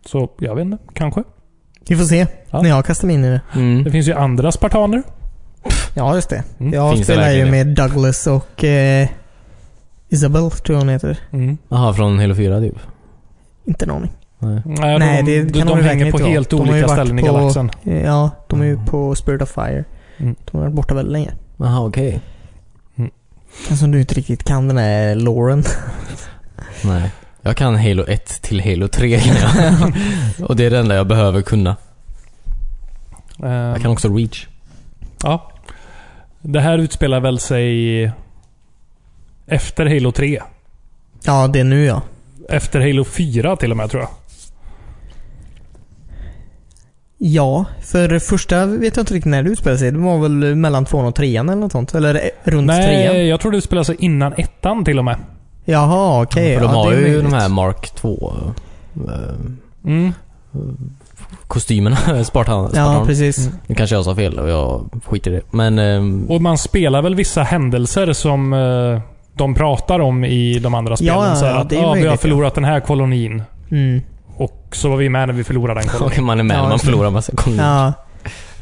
S2: så jag vet inte. Kanske.
S1: Vi får se
S2: Ja.
S1: när jag kastar mig in i det.
S2: Det
S3: Mm.
S2: finns ju andra spartaner.
S1: Ja, just det.
S2: Mm.
S1: Jag
S3: Finns det
S1: spelar ju
S3: verkligen
S1: med Douglas och eh, Isabel, tror jag hon heter.
S2: Mm.
S3: Jaha, från Halo 4 typ?
S1: Inte en aning.
S2: Nej,
S1: Nej,
S2: Eh, de,
S1: det kan de
S2: de, de
S1: verkligen
S2: hänger på
S1: inte vara.
S2: helt
S1: De har ju
S2: olika
S1: varit
S2: ställen i
S1: på-
S2: galaxen.
S1: Eh, Ja, de är ju
S3: Mm.
S1: på Spirit of Fire.
S2: Mm.
S1: De har varit borta väldigt länge.
S3: Jaha, okej.
S1: Alltså du inte riktigt kan den här Lauren.
S3: Nej. Jag kan Halo 1 till Halo 3 kan jag. Och det är det enda jag behöver kunna. Jag
S2: Ehm,
S3: kan också Reach.
S2: ja. Det här utspelar väl sig efter Halo 3.
S1: Ja, det är nu ja.
S2: Efter Halo 4 till och med tror jag.
S1: Ja, för det första vet jag inte riktigt när det utspelade sig. Det var väl mellan tvåan och trean eller något sånt? Eller eh, runt
S2: Nej,
S1: trean?
S2: jag tror det utspelar sig innan ettan till och med.
S1: Jaha, okej.
S3: För de
S1: ja,
S3: har
S1: det är
S3: ju
S1: möjligt.
S3: de här Mark 2 eh,
S2: Mm.
S3: kostymerna. Spartan.
S1: Ja,
S3: Spartan.
S1: precis.
S3: nu kanske jag sa fel och jag skiter i det. Men... ehm,
S2: Och man spelar väl vissa händelser som eh, de pratar om i de andra spelen.
S1: ja,
S2: så här
S1: ja,
S2: att
S1: det är
S2: ah, vi har
S1: möjligt,
S2: förlorat den här kolonin.
S1: Mm.
S2: Och så var vi med när vi förlorade den kolonin.
S3: Okej, man är med.
S1: Ja,
S3: man
S1: just det.
S3: förlorar massa kolonier.
S1: Ja.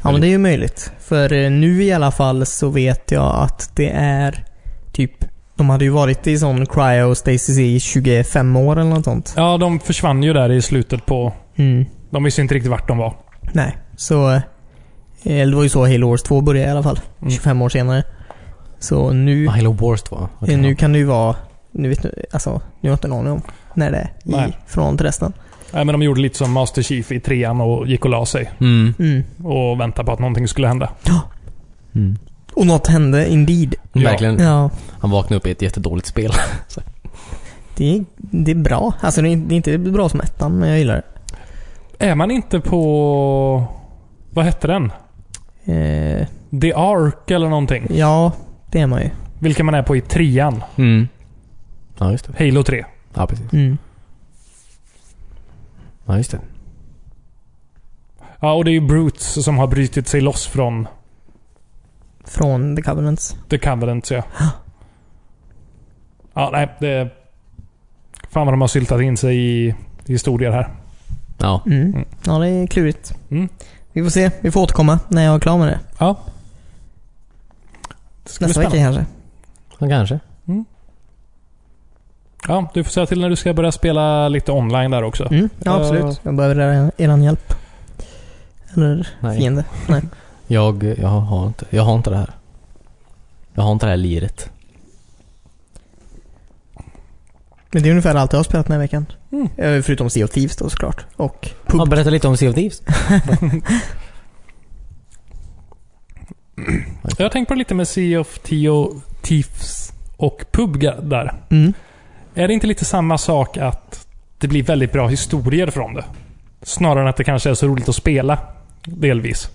S1: ja, men det är ju möjligt. För eh, nu i alla fall så vet jag att det är typ de hade ju varit i sån cryostasis i 25 år eller något sånt.
S2: Ja, de försvann ju där i slutet på...
S1: Mm.
S2: De visste inte riktigt vart de var.
S1: Nej, så... eh, Eller det var ju så Halo Wars 2 började i alla fall.
S2: Mm.
S1: 25 år senare. Så nu,
S3: Ah, Halo Wars 2. Okej.
S1: eh, nu kan det ju vara... Nu vet du, alltså, nu har jag inte en aning om när det är i
S2: Nej.
S1: förhållande till resten.
S2: Nej, men de gjorde lite som Master Chief i trean och gick och la sig.
S3: Mm.
S1: Mm.
S2: Och väntade på att någonting skulle hända.
S3: Mm.
S1: Och något hände indeed.
S2: Ja. Mm.
S3: Verkligen.
S1: Ja.
S3: Han vaknade upp i ett jättedåligt spel.
S1: Det är, det är bra. Alltså det är det är inte bra som ettan, men jag gillar
S2: Är man inte på... Vad hette den?
S1: det. Eh,
S2: The Ark eller någonting?
S1: ja, det är man ju.
S2: Vilken man är på i trean.
S3: Mm. Ja, just det.
S2: Halo 3.
S3: Ja, precis.
S1: Mm.
S3: Ja, just det.
S2: Ja, och det är ju Brutes som har brutit sig loss från
S1: Från The Covenants.
S2: The Covenant, ja. Ja, nej. Det... Fan vad de har syltat in sig i historier här.
S3: Ja.
S1: Mm.
S2: Mm.
S1: Ja, det är klurigt.
S2: Mm.
S1: Vi får se. Vi får återkomma när jag är klar med det.
S2: Ja. Det ska bli
S1: Nästa vecka
S2: spännande.
S1: kanske.
S3: Ja, kanske.
S2: Ja, du får säga till när du ska börja spela lite online där också.
S1: Mm. Ja,
S2: Eh.
S1: absolut. Jag behöver er hjälp. Eller
S3: Nej.
S1: fiende.
S3: Jag, jag, har inte, jag har inte det här. Jag har inte det här liret.
S1: Men det är ungefär allt jag har spelat den här veckan.
S2: Mm.
S1: Eh, Förutom Sea of Thieves då såklart. Och Pub.
S3: Ja, berätta lite om Sea of Thieves.
S2: Jag tänkte på det lite med Sea of Tio, Thieves och Pubga där.
S1: Mm.
S2: Är det inte lite samma sak att det blir väldigt bra historier från det? Snarare än att det kanske är så roligt att spela. Delvis.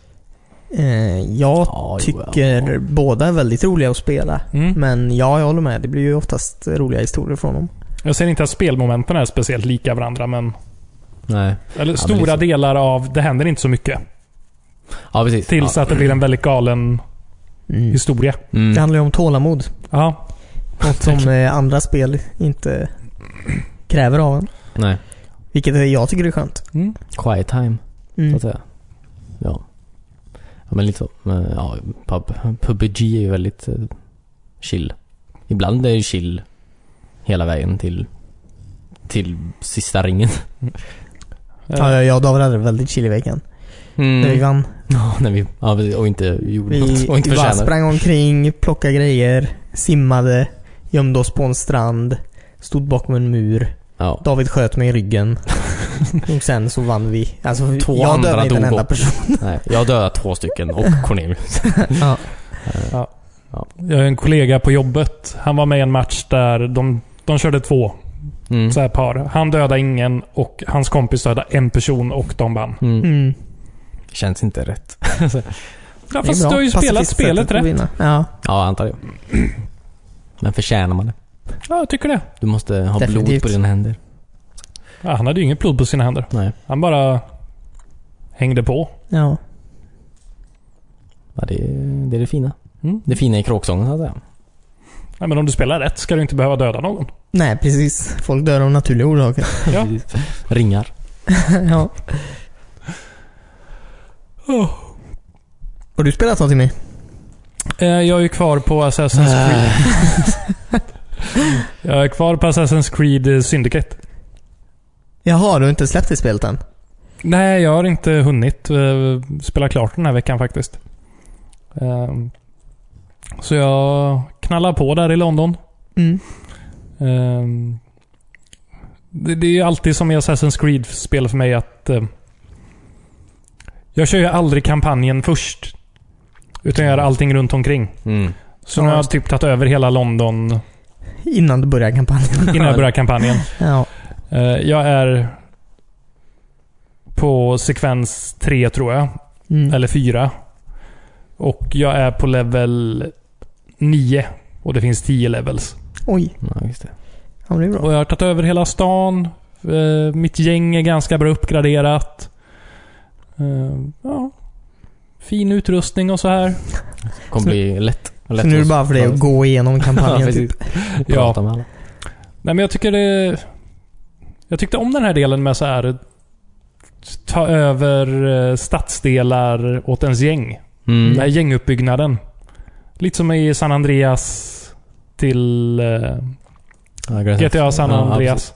S1: Eh, jag
S3: Ja, jo, ja.
S1: tycker båda är väldigt roliga att spela.
S2: Mm.
S1: Men ja, jag håller med. Det blir ju oftast roliga historier från dem.
S2: Jag säger inte att spelmomenten är speciellt lika varandra, men...
S3: Nej.
S2: Eller stora
S3: liksom-
S2: delar av... Det händer inte så mycket.
S3: Ja, precis.
S2: Tills
S3: ja.
S2: att det blir en väldigt galen historia.
S1: Det
S3: Mm.
S1: handlar ju om tålamod.
S2: Ja.
S1: Något som eh, andra spel inte kräver av en.
S3: Nej.
S1: Vilket eh, jag tycker är skönt.
S2: Mm.
S3: Quiet time, så
S1: Mm.
S3: att säga. Ja. Ja, men lite så. Men, ja, pub, PubG är ju väldigt eh, chill. Ibland är det ju chill hela vägen till, till sista ringen.
S1: Ja, jag- jag och David hade det väldigt chill i veckan.
S3: Mm.
S1: Vi vann.
S3: Ja, när vi, ja, precis. och inte gjorde
S1: Vi,
S3: något. Och inte
S1: vi bara
S3: förtjänade.
S1: sprang omkring, plockade grejer, simmade, gömde oss på en strand, stod bakom en mur.
S3: Ja.
S1: David sköt mig i ryggen. och sen så vann vi. Alltså,
S3: Två
S1: jag dödade
S3: andra
S1: inte en
S3: dog
S1: enda
S3: också.
S1: person.
S3: Nej, jag har dödat två stycken och Cornelius.
S1: ja.
S2: Jag har en kollega på jobbet. Han var med i en match där de, de körde två
S3: Mm.
S2: så här par. Han dödade ingen och hans kompis dödade en person och de vann.
S3: Mm.
S1: Mm.
S3: Känns inte rätt.
S2: Ja,
S1: Det är
S2: fast
S1: bra.
S2: du har ju spelat
S1: Pacifist
S2: spelet
S1: sättet att
S2: rätt.
S1: vinna. Ja,
S3: Ja, antar jag. Men förtjänar man det?
S2: Ja, jag tycker det.
S3: Du måste ha blod
S1: Definitivt.
S3: på dina händer.
S2: Ja, han hade ju inget blod på sina händer.
S3: Nej,
S2: Han bara hängde på.
S1: ja.
S3: ja, det, är, det är det fina.
S2: Mm.
S3: Det fina i kråksången, så att säga.
S2: Nej, men om du spelar rätt ska du inte behöva döda någon.
S1: Nej, precis. Folk dör av naturliga orsaker.
S2: Ja.
S3: Precis. Ringar.
S1: ja.
S2: Oh.
S1: Har du spelat någonting med?
S2: Eh, Jag är ju kvar på Assassin's Creed. Jag är kvar på Assassin's Creed eh, Syndicate.
S1: Jaha, du har inte släppt det spelet än?
S2: Nej, jag har inte hunnit eh, spela klart den här veckan faktiskt. Ehm, Så jag knallar på där i London.
S1: Mm.
S2: Ehm, Det, det är ju alltid som i Assassin's Creed-spel för mig att... eh, Jag kör ju aldrig kampanjen först. Utan jag gör allting runt omkring.
S3: Mm.
S2: Så
S1: Ja,
S2: nu har jag
S1: just
S2: typ tagit över hela London
S1: Innan du börjar kampanjen?
S2: innan jag börjar kampanjen.
S1: Ja.
S2: Eh, Jag är på sekvens tre tror jag.
S1: Mm.
S2: Eller fyra. Och jag är på level 9. Och det finns 10 levels.
S1: Oj,
S3: Ja, just det.
S1: ja, men det är bra.
S2: Och jag har tagit över hela stan. Eh, mitt gäng är ganska bra uppgraderat. Eh, ja. Fin utrustning och så här.
S3: kommer
S1: Så-
S3: bli lätt. lätt
S1: Så nu är det
S3: att-
S1: bara för dig att gå igenom
S3: Ja,
S1: kampanjen
S3: precis.
S1: typ.
S2: Ja.
S3: Prata med alla.
S2: Nej men jag tycker det... Jag tyckte om den här delen med så här ta över eh, stadsdelar åt ens gäng.
S3: Mm.
S2: Den här gänguppbyggnaden. Lite som i San Andreas till eh,
S3: Ja, Grand Theft.
S2: GTA San
S3: Ja,
S2: Andreas.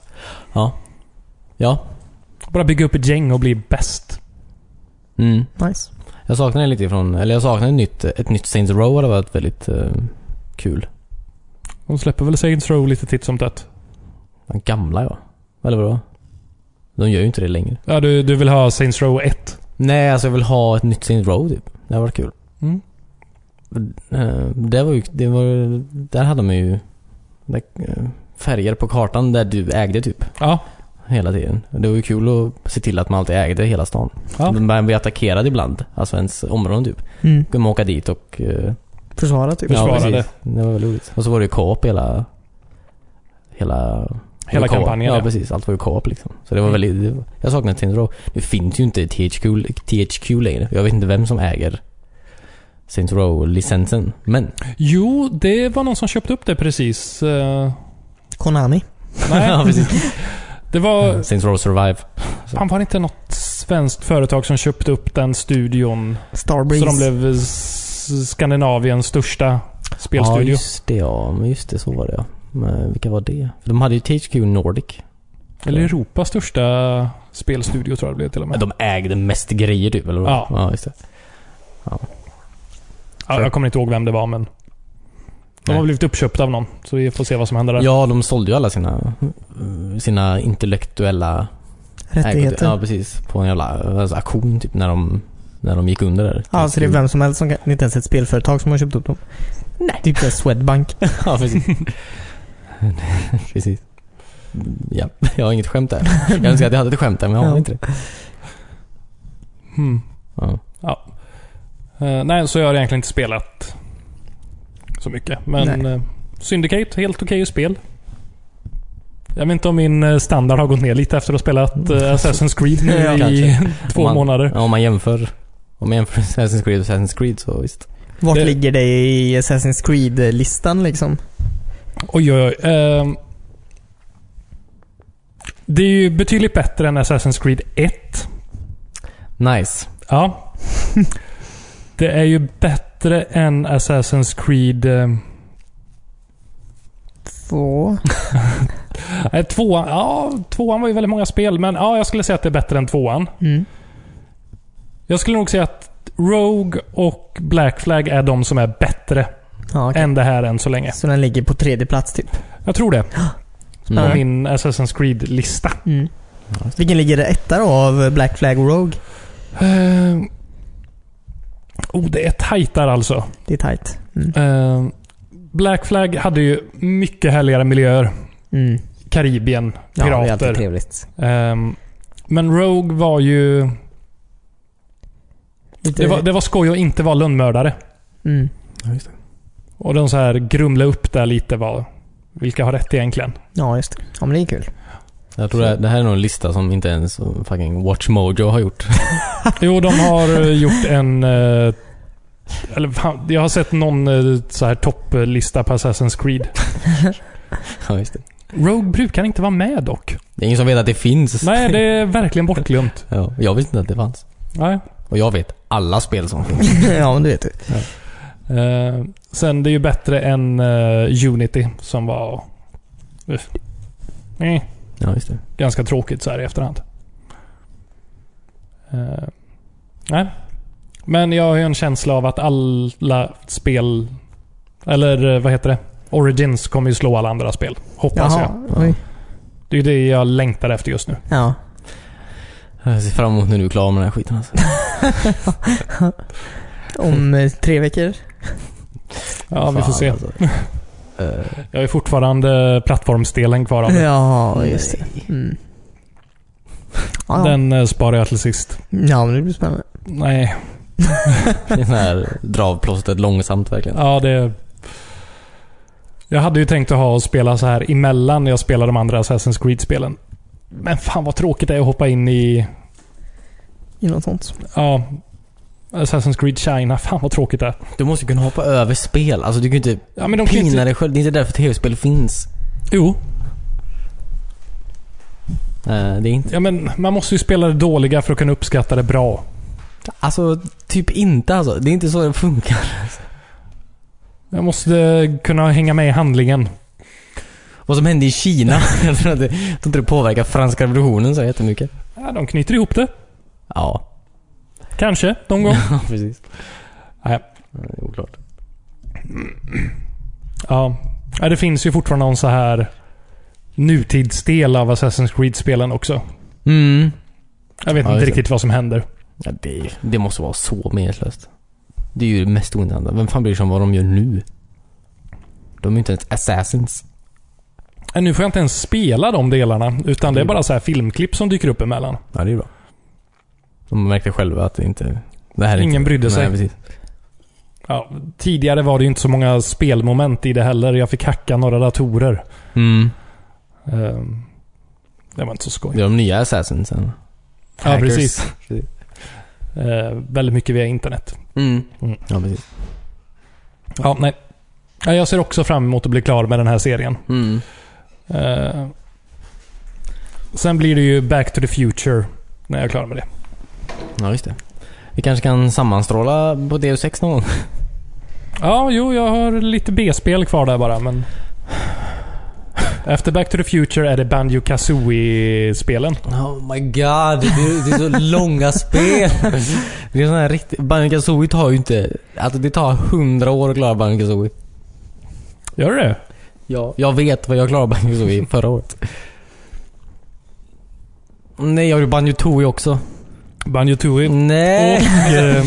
S3: Ja.
S2: Bara bygga upp ett gäng och bli bäst.
S3: Mm.
S1: Nice.
S3: Jag saknar det lite ifrån, eller jag saknar ett nytt, ett nytt Saints Row hade varit väldigt eh, kul.
S2: De släpper väl Saints Row lite titt som tätt.
S3: De gamla ja. Eller vadå? De gör ju inte det längre.
S2: Ja, du, du vill ha Saints Row 1?
S3: Nej, alltså jag vill ha ett nytt Saints Row typ. Det hade varit kul.
S2: Mm.
S3: Eh, det var ju, det var, där hade man ju, där eh, färger på kartan där du ägde typ.
S2: Ja,
S3: Hela tiden. Det var ju kul att se till att man alltid ägde hela stan.
S2: Ja.
S3: Man blir attackerad ibland. Alltså ens område typ.
S1: Mm.
S3: Kunde man åka dit och... eh,
S1: Försvara typ.
S2: Försvara.
S3: precis.
S2: det.
S3: Det var väldigt roligt. Och så var det ju co-op hela... Hela...
S2: hela
S3: co-op.
S2: kampanjen.
S3: Ja,
S2: ja.
S3: precis. Allt var ju co-op liksom. Så det var väldigt... det var- Jag saknar Saints Row. Det finns ju inte THQ, THQ längre. Jag vet inte vem som äger Saints Row-licensen. Men...
S2: Jo, det var någon som köpte upp det precis. Eh,
S1: Konami.
S2: nej,
S3: ja, precis.
S2: det var...
S3: Saints Row Survive.
S2: Han var det inte något svenskt företag som köpte upp den studion.
S1: Starbreeze.
S2: Så de blev s- Skandinaviens största
S3: Ja,
S2: spelstudio.
S3: just det ja. Men Just det, så var det ja. Men vilka var det? För de hade ju THQ Nordic.
S2: Eller Europas största spelstudio tror jag det blev till och
S3: Men
S2: med.
S3: de ägde mest grejer typ, eller vad?
S2: Ja.
S3: ja just det.
S2: Ja, jag kommer inte ihåg vem det var, men... De
S3: Nej.
S2: har blivit uppköpta av någon, så vi får se vad som händer där.
S3: Ja, de sålde ju alla sina, eh, sina intellektuella
S1: Rättigheter.
S3: Ja, precis. På en jävla alltså, auktion typ när de, när de gick under där.
S1: Ja, så det är vem som helst som kan, inte ens ett spelföretag som har köpt upp dem. Nej. Typ det är Swedbank.
S3: Ja, precis. precis. Ja, jag har inget skämt där. Jag önskar att jag hade ett skämt där, men jag har
S1: Ja.
S3: inte det.
S2: Hmm.
S3: Ja.
S2: Eh, nej, så jag har egentligen inte spelat så mycket. Men
S1: Nej.
S2: eh, Syndicate, helt okej spel. Jag vet inte om min eh, standard har gått ner lite efter att ha spelat eh, Assassin's Creed nu
S3: Ja,
S2: i
S3: kanske.
S2: två
S3: Om man-
S2: månader.
S3: Ja, om man jämför, om man jämför Assassin's Creed och Assassin's Creed så visst.
S1: Vart
S2: Det-
S1: ligger det i Assassin's Creed-listan liksom?
S2: Oj, oj, oj. Ehm, det är ju betydligt bättre än Assassin's Creed 1.
S3: Nice.
S2: Ja. det är ju bättre än Assassin's Creed... ehm,
S1: Två.
S2: nej, tvåan, ja, tvåan var ju väldigt många spel, men ja, jag skulle säga att det är bättre än tvåan.
S1: Mm.
S2: Jag skulle nog säga att Rogue och Black Flag är de som är bättre
S1: Ja, okej.
S2: än det här än så länge.
S1: Så den ligger på tredje plats typ.
S2: Jag tror det. På
S1: Mm.
S2: min Assassin's Creed-lista.
S1: Mm. Vilken ligger det etta då av Black Flag och Rogue?
S2: Eh, oh, det är tajt där alltså.
S1: Det är tight. Mm.
S2: Eh, Black Flag hade ju mycket härligare miljöer.
S1: Mm.
S2: Karibien,
S3: Ja, det är alltid
S2: pirater.
S3: trevligt.
S2: Ehm, men Rogue var ju...
S1: Lite,
S2: Det var, det var skoj att inte vara lönnmördare.
S1: Mm.
S3: Ja, just det.
S2: Och de så här grumla upp där lite var... Vilka har rätt egentligen?
S1: Ja, just det. Ja, men det är kul.
S3: Jag tror det, det här är nog en lista som inte ens fucking WatchMojo har gjort.
S2: Jo, de har eh, gjort en... eh, Eller fan, jag har sett någon eh, så här topplista på Assassin's Creed.
S3: ja, just det.
S2: Rogue brukar inte vara med dock.
S3: det är ingen som vet att det finns.
S2: Nej, det är verkligen bortglömt.
S3: Ja, jag visste inte att det fanns.
S2: Nej.
S3: Och jag vet alla spel som finns.
S1: ja, men du vet du.
S2: Eh, sen, det är ju bättre än eh, Unity som var... Eh,
S3: Ja, just det.
S2: ganska tråkigt så här i efterhand. Eh, nej. Men jag har ju en känsla av att alla spel... Eller eh, vad heter det? Origins kommer ju slå alla andra spel. Hoppas jag.
S1: Jaha. Oj.
S2: Det är det jag längtar efter just nu.
S1: Ja.
S3: Jag ser fram emot när du är klar med den här skiten alltså.
S1: Om eh, tre veckor.
S2: Ja, vi får
S3: Fan,
S2: se.
S3: alltså. Eh,
S2: Jag är fortfarande plattformsdelen kvar av det.
S1: Ja, just det. Mm. Ja, ja.
S2: Den eh, sparar jag till sist.
S1: ja, men det blir spännande.
S2: Nej.
S3: det är sån här dravplåstret långsamt verkligen.
S2: Ja, det... Jag hade ju tänkt att ha och spela så här emellan när jag spelar de andra Assassin's Creed-spelen. Men fan vad tråkigt det är att hoppa in i
S1: I något sånt.
S2: Ja. Assassin's Creed China. Fan vad tråkigt det är.
S3: Du måste ju kunna hoppa över spel. Alltså du kan ju inte
S2: Ja, men de kan ju
S3: pina
S2: inte...
S3: dig själv. Det är inte därför tv-spel finns.
S2: Jo.
S3: Eh, det är inte...
S2: Ja, men man måste ju spela det dåliga för att kunna uppskatta det bra.
S3: Alltså, typ inte alltså. Det är inte så det funkar.
S2: Jag måste eh, kunna hänga med i handlingen.
S3: Vad som hände i Kina. jag tror inte, jag tror inte det påverkar franska revolutionen så jättemycket.
S2: Ja, de knyter ihop det.
S3: Ja,
S2: Kanske, någon gång.
S3: ja precis.
S2: Nej.
S3: Ja, Det är oklart.
S2: Ja. ja. Det finns ju fortfarande någon så här nutidsdel av Assassin's Creed-spelen också.
S3: Mm.
S2: Jag vet
S3: Ja,
S2: inte
S3: just
S2: riktigt vad som händer.
S3: Ja, det, det måste vara så meningslöst. Det är ju det mest ointressanta. Vem fan bryr sig om vad de gör nu? De är ju inte ens assassins.
S2: Nej, Nu får jag inte ens spela de delarna, utan
S3: Mm.
S2: det är bara så här filmklipp som dyker upp emellan.
S3: Ja, det är bra. De märkte själva att det inte... Det här är
S2: Ingen
S3: inte,
S2: brydde sig.
S3: Nej, precis.
S2: Ja, tidigare var det ju inte så många spelmoment i det heller. Jag fick hacka några datorer.
S3: Mm.
S2: Ehm, Det var inte så skoj.
S3: Det är de nya Assassinsen.
S2: Ja,
S3: Hackers.
S2: precis. Eh, väldigt mycket via internet.
S3: Mm.
S2: Mm.
S3: Ja, precis.
S2: Ja, nej. Ja, Jag ser också fram emot att bli klar med den här serien.
S3: Mm.
S2: Eh, sen blir det ju Back to the Future när jag är klar med det.
S3: Ja, just det. Vi kanske kan sammanstråla på DU6 någon gång?
S2: Ja, jo, jag har lite B-spel kvar där bara, men... Efter Back to the Future är det Banjo Kazooie-spelen.
S3: Oh my god, det är, det är så långa spel. Det är sån här riktigt... Banjo-Kazooie tar ju inte... Alltså det tar hundra år att klara Banjo-Kazooie.
S2: Gör det det?
S3: Ja, jag vet vad jag klarade Banjo-Kazooie förra året. Nej, jag gjorde Banjo-Tooie också.
S2: Banjo Tooie.
S3: Nej!
S2: Och eh,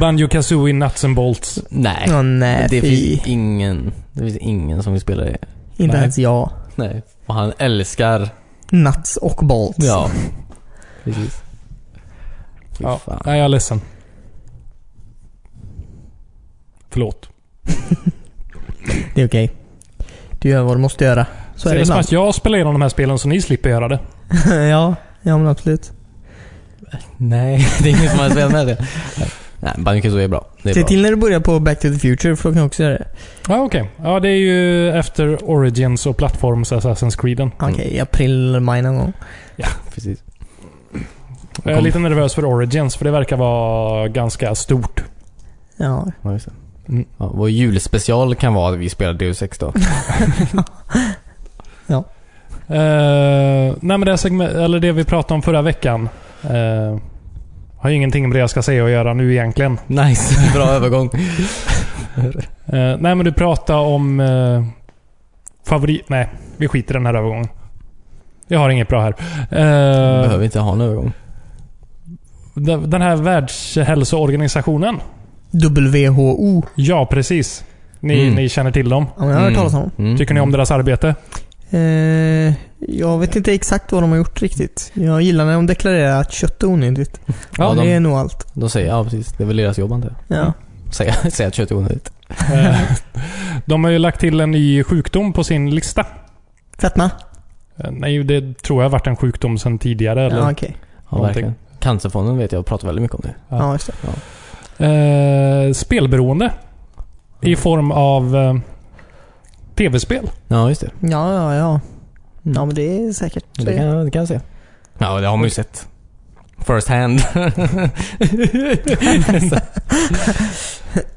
S2: Banjo Kazooie Nuts and Bolts.
S3: Nej.
S1: Åh nej,
S3: det
S1: fy.
S3: finns ingen, det finns ingen som vill spela det.
S1: Inte
S2: Nej.
S1: ens jag.
S3: Nej. Och han älskar...
S1: Nuts och bolts.
S3: Ja. Precis. Fy
S2: Ja,
S3: fan.
S2: nej, jag är ledsen. Förlåt.
S1: Det är okej. Du gör vad du måste göra. Så
S2: Så
S1: är det
S2: det som
S1: ibland.
S2: att jag spelar igenom de här spelen så ni slipper göra det.
S1: ja, ja men absolut.
S3: Nej, det är ingen som har spelat med det. Nej, Banjo-Kazooie är bra. Det är
S1: Se
S3: bra.
S1: till när du börjar på Back to the Future, för då kan jag också göra det.
S2: Ja, Ah, okej. Ja, det är ju efter Origins och Platforms Assassin's Creeden.
S3: Mm.
S1: Okej, i april eller maj någon gång.
S3: Precis.
S2: Jag är lite nervös för Origins, för det verkar vara ganska stort.
S1: Ja.
S3: Ja, just det.
S2: Mm.
S3: Ja, vår julspecial kan vara att vi spelar Deus Ex då.
S2: Eh, nej men det, segment, eller det vi pratade om förra veckan eh, har ju ingenting med det jag ska säga att göra nu egentligen.
S3: Nice, bra övergång.
S2: Eh, nej men du pratade om eh, favorit... Nej, vi skiter i den här övergången. Jag har inget bra här. Eh,
S3: Behöver inte ha en övergång.
S2: d- den här Världshälsoorganisationen.
S1: WHO.
S2: Ja, precis. Ni,
S3: Mm.
S2: ni känner till dem.
S1: Ja, men jag har hört
S3: Mm.
S1: talas om dem.
S3: Mm.
S2: Tycker ni om deras arbete?
S1: Eh, jag vet inte exakt vad de har gjort riktigt. Jag gillar när de deklarerar att kött är onödigt.
S3: Ja,
S1: Ja, det
S3: de-
S1: är nog allt.
S3: De säger, ja precis. Det är väl deras jobb antar jag.
S1: Ja.
S3: Säga, säga att kött är onödigt.
S2: Eh, de har ju lagt till en ny sjukdom på sin lista.
S1: Fetma?
S2: Eh, nej, det tror jag varit en sjukdom sedan tidigare. Eller?
S1: Ja, okej.
S3: Ja,
S2: Någonting.
S3: verkligen. Cancerfonden vet jag pratar väldigt mycket om det.
S2: Ja.
S1: Ja, just det.
S2: Eh, spelberoende. I
S3: Mm.
S2: form av eh, tv-spel.
S3: Ja, just det.
S1: Ja, ja, ja. Ja,
S3: Mm.
S1: men det är säkert.
S3: det, kan, jag- det kan jag se. Ja, det har man ju sett. First hand.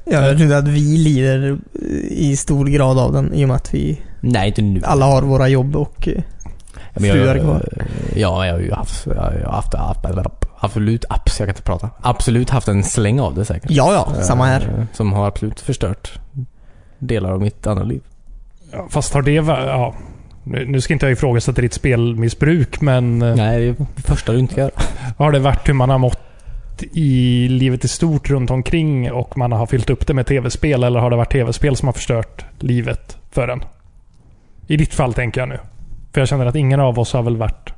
S1: Jag tror inte att vi lider eh, i stor grad av den i och med att vi
S3: Nej, inte nu.
S1: alla har våra jobb och... eh,
S3: Men jag-
S1: fruar kvar.
S3: Ja, jag har ju haft, jag har ju haft, haft, absolut, abs, jag kan inte prata. Absolut haft en släng av det säkert.
S1: Ja, ja. Samma här.
S3: Eh, Som har absolut förstört delar av mitt andra liv.
S2: Ja, Fast har det va- ja. Nu nu ska inte jag ifrågasätta ditt spelmissbruk, men eh,
S3: Nej, det är det första du inte ska göra.
S2: har det varit hur man har mått i livet i stort runt omkring och man har fyllt upp det med tv-spel? Eller har det varit tv-spel som har förstört livet för en? I ditt fall tänker jag nu. För jag känner att ingen av oss har väl varit...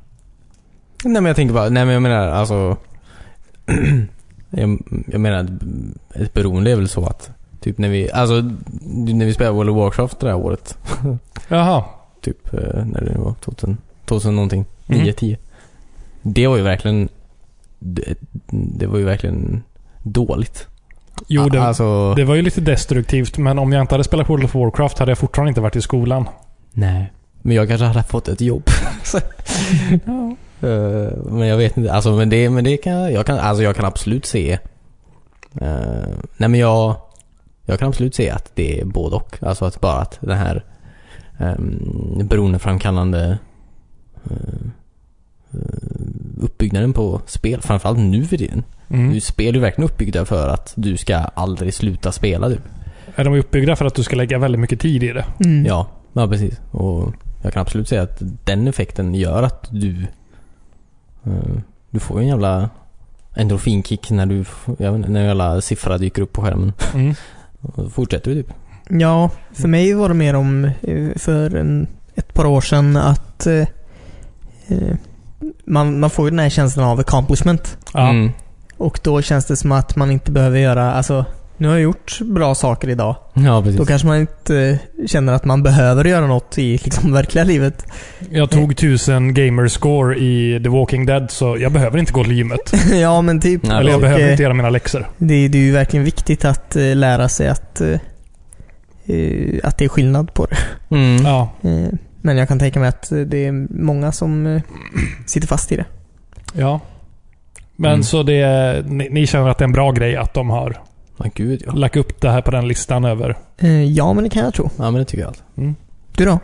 S3: Nej men jag tänker bara, nej men jag menar alltså... jag, jag menar att ett beroende är väl så att... Typ när vi, alltså när vi spelade World of Warcraft det här året.
S2: Jaha.
S3: Typ eh, när det var 2000, 2000 någonting.
S2: Mm.
S3: 9, 10. Det var ju verkligen... Det, det var ju verkligen dåligt.
S2: Jo, det,
S3: alltså,
S2: det var ju lite destruktivt, men om jag inte hade spelat World of Warcraft hade jag fortfarande inte varit i skolan.
S3: Nej. Men jag kanske hade fått ett jobb. Så- Eh, men jag vet inte. Alltså, men det, men det kan, jag kan, alltså, jag kan absolut se... eh, nej men jag... Jag kan absolut se att det är både och. Alltså att bara att den här um, beroendeframkallande uh, uppbyggnaden på spel, framförallt nu för tiden.
S2: Mm.
S3: Nu spel är ju verkligen uppbyggda för att du ska aldrig sluta spela typ. du.
S2: Är de uppbyggda för att du ska lägga väldigt mycket tid i det?
S1: Mm.
S3: Ja, ja precis. Och jag kan absolut säga att den effekten gör att du... eh, Du får ju en jävla endorfinkick när du... f- Jag vet inte, när en jävla siffra dyker upp på skärmen.
S2: Mm.
S3: Och så fortsätter du typ.
S1: Ja, för mig var det mer om, eh, för en, ett par år sedan att eh, eh, man, man får ju den här känslan av accomplishment.
S2: Ja.
S3: Mm.
S1: Och då känns det som att man inte behöver göra, alltså nu har jag gjort bra saker idag.
S3: Ja,
S1: Då
S3: precis.
S1: kanske man inte eh, känner att man behöver göra något i liksom verkliga livet.
S2: Jag tog 1000 gamerscore i The Walking Dead, så jag behöver inte gå till gymmet.
S1: ja men typ.
S3: Nej,
S2: Eller jag
S1: Och,
S2: behöver
S1: eh,
S2: inte göra mina läxor.
S1: Det, det är ju verkligen viktigt att eh, lära sig att, eh, eh, att det är skillnad på det.
S3: Mm.
S2: Ja.
S1: Eh, men jag kan tänka mig att eh, det är många som eh, sitter fast i det.
S2: ja. Men
S3: Mm.
S2: så det, ni, ni känner att det är en bra grej att de har
S3: Ja, gud ja.
S2: lagt upp det här på den listan över...
S1: Eh, ja, men det kan jag tro.
S3: Ja, men det tycker jag. alltså. Allt.
S1: Du då?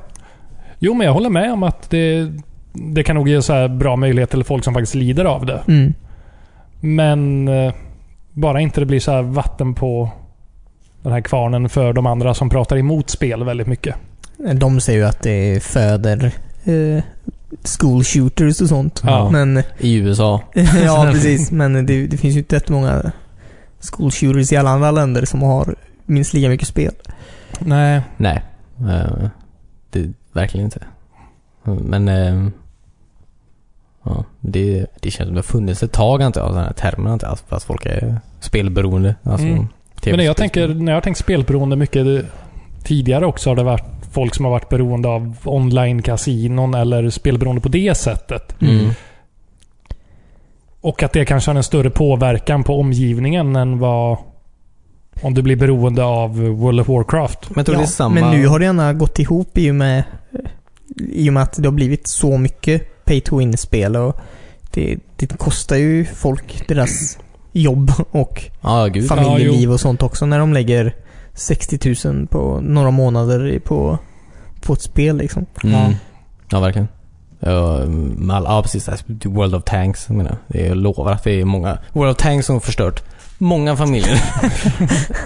S2: Jo, men jag håller med om att det, det kan nog ge så här bra möjlighet till folk som faktiskt lider av det.
S1: Mm.
S2: Men eh, bara inte det blir så här vatten på den här kvarnen för de andra som pratar emot spel väldigt mycket.
S1: De säger ju att det föder eh, school shooters och sånt.
S2: Ja.
S1: Men,
S3: I USA.
S1: ja, precis. Men det, det finns ju inte jättemånga school shooters i alla andra länder som har minst lika mycket spel.
S2: Nej.
S3: Nej. Eh, det, verkligen inte. Men... eh, ja, det, det känns som det har funnits ett tag, antar jag, sådana här termer, antar jag. Alltså, Att folk är spelberoende. Alltså,
S2: Mm.
S3: TV-spel.
S2: Men jag tänker, när jag har tänkt spelberoende mycket det, tidigare också har det varit folk som har varit beroende av online-kasinon eller spelberoende på det sättet.
S3: Mm.
S2: Och att det kanske har en större påverkan på omgivningen än vad om du blir beroende av World of Warcraft.
S3: Men jag tror det är samma...
S1: Men nu har det gärna gått ihop i och med, i och med att det har blivit så mycket pay to win-spel och det, det kostar ju folk deras jobb och
S3: Ja, gud.
S2: Fan.
S1: familjeliv och sånt också när de lägger 60 000 på några månader i- på, på ett spel liksom.
S3: Mm. Ja, verkligen. Ja, med alla- ja, precis. Alltså, World of Tanks, jag menar. Det är- Jag lovar att det är många. World of Tanks som har förstört många familjer.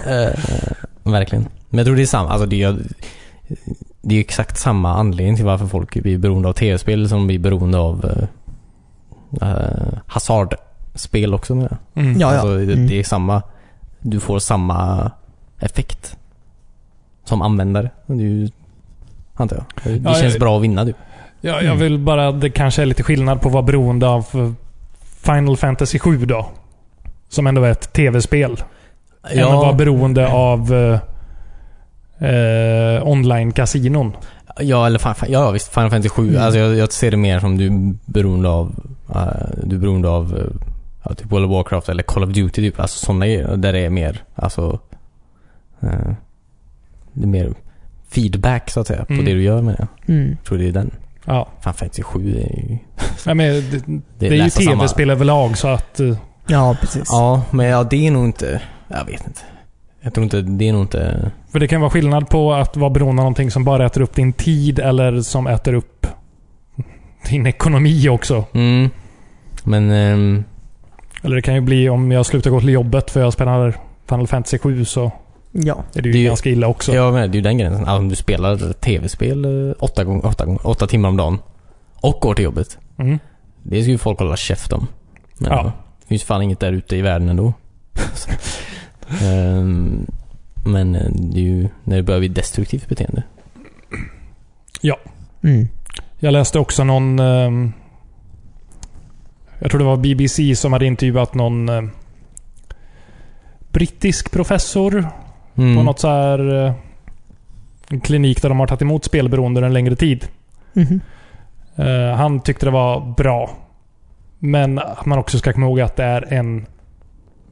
S3: Eh, eh, verkligen. Men jag tror det är samma. Alltså, det, är, det är exakt samma anledning till varför folk blir beroende av tv-spel som blir beroende av eh, eh, hasardspel också, menar jag.
S2: Mm.
S1: Ja, ja.
S3: Alltså, det,
S1: Mm.
S3: det är samma. Du får samma effekt som användare. Det är ju, antar jag. Det
S2: Ja,
S3: känns
S2: jag-
S3: bra att vinna du.
S2: Ja, jag vill bara... Det kanske är lite skillnad på att vara beroende av Final Fantasy 7 då. Som ändå är ett tv-spel. Än att vara beroende av eh, eh, online-kasinon.
S3: Ja, eller fan, fan, ja, ja, visst. Final Fantasy 7.
S1: Mm.
S3: Alltså, jag, jag ser det mer som du är beroende av, eh, du är beroende av eh, ja, typ World of Warcraft eller Call of Duty. Typ. Alltså sådana grejer. Där det är mer, alltså, eh, det är mer feedback så att säga på
S2: Mm.
S3: det du gör med jag.
S1: Mm.
S3: tror det är den.
S2: Ja.
S3: Fan Fantasy 7 är ju...
S2: Nej, men det, det är, ju
S3: nästan samma-
S2: tv-spel överlag så att... eh,
S1: Ja, precis.
S3: Ja, men ja, det är nog inte... Jag vet inte. Jag tror inte, det är nog inte...
S2: För det kan vara skillnad på att vara beroende av någonting som bara äter upp din tid eller som äter upp din ekonomi också.
S3: Mm. Men... ehm,
S2: Eller det kan ju bli om jag slutar gå till jobbet för jag spelar Final Fantasy 7 så
S1: Ja.
S2: är det ju
S3: Det är ju-
S2: ganska illa också.
S3: Ja, men det är ju den gränsen. Alltså, om du spelar tv-spel eh, åtta, gånger, åtta, gånger, åtta timmar om dagen och går till jobbet.
S2: Mm.
S3: Det ska ju folk hålla käft om. Men,
S2: Ja.
S3: Det finns fan inget där ute i världen ändå. Ehm, men eh, det är ju när det börjar bli destruktivt beteende.
S1: Mm.
S2: Jag läste också någon... ehm, Jag tror det var BBC som hade intervjuat någon ehm, brittisk professor
S3: Mm.
S2: på något så här... eh, En klinik där de har tagit emot spelberoende under en längre tid.
S1: Mhm.
S2: Eh, han tyckte det var bra. Men att man också ska komma ihåg att det är en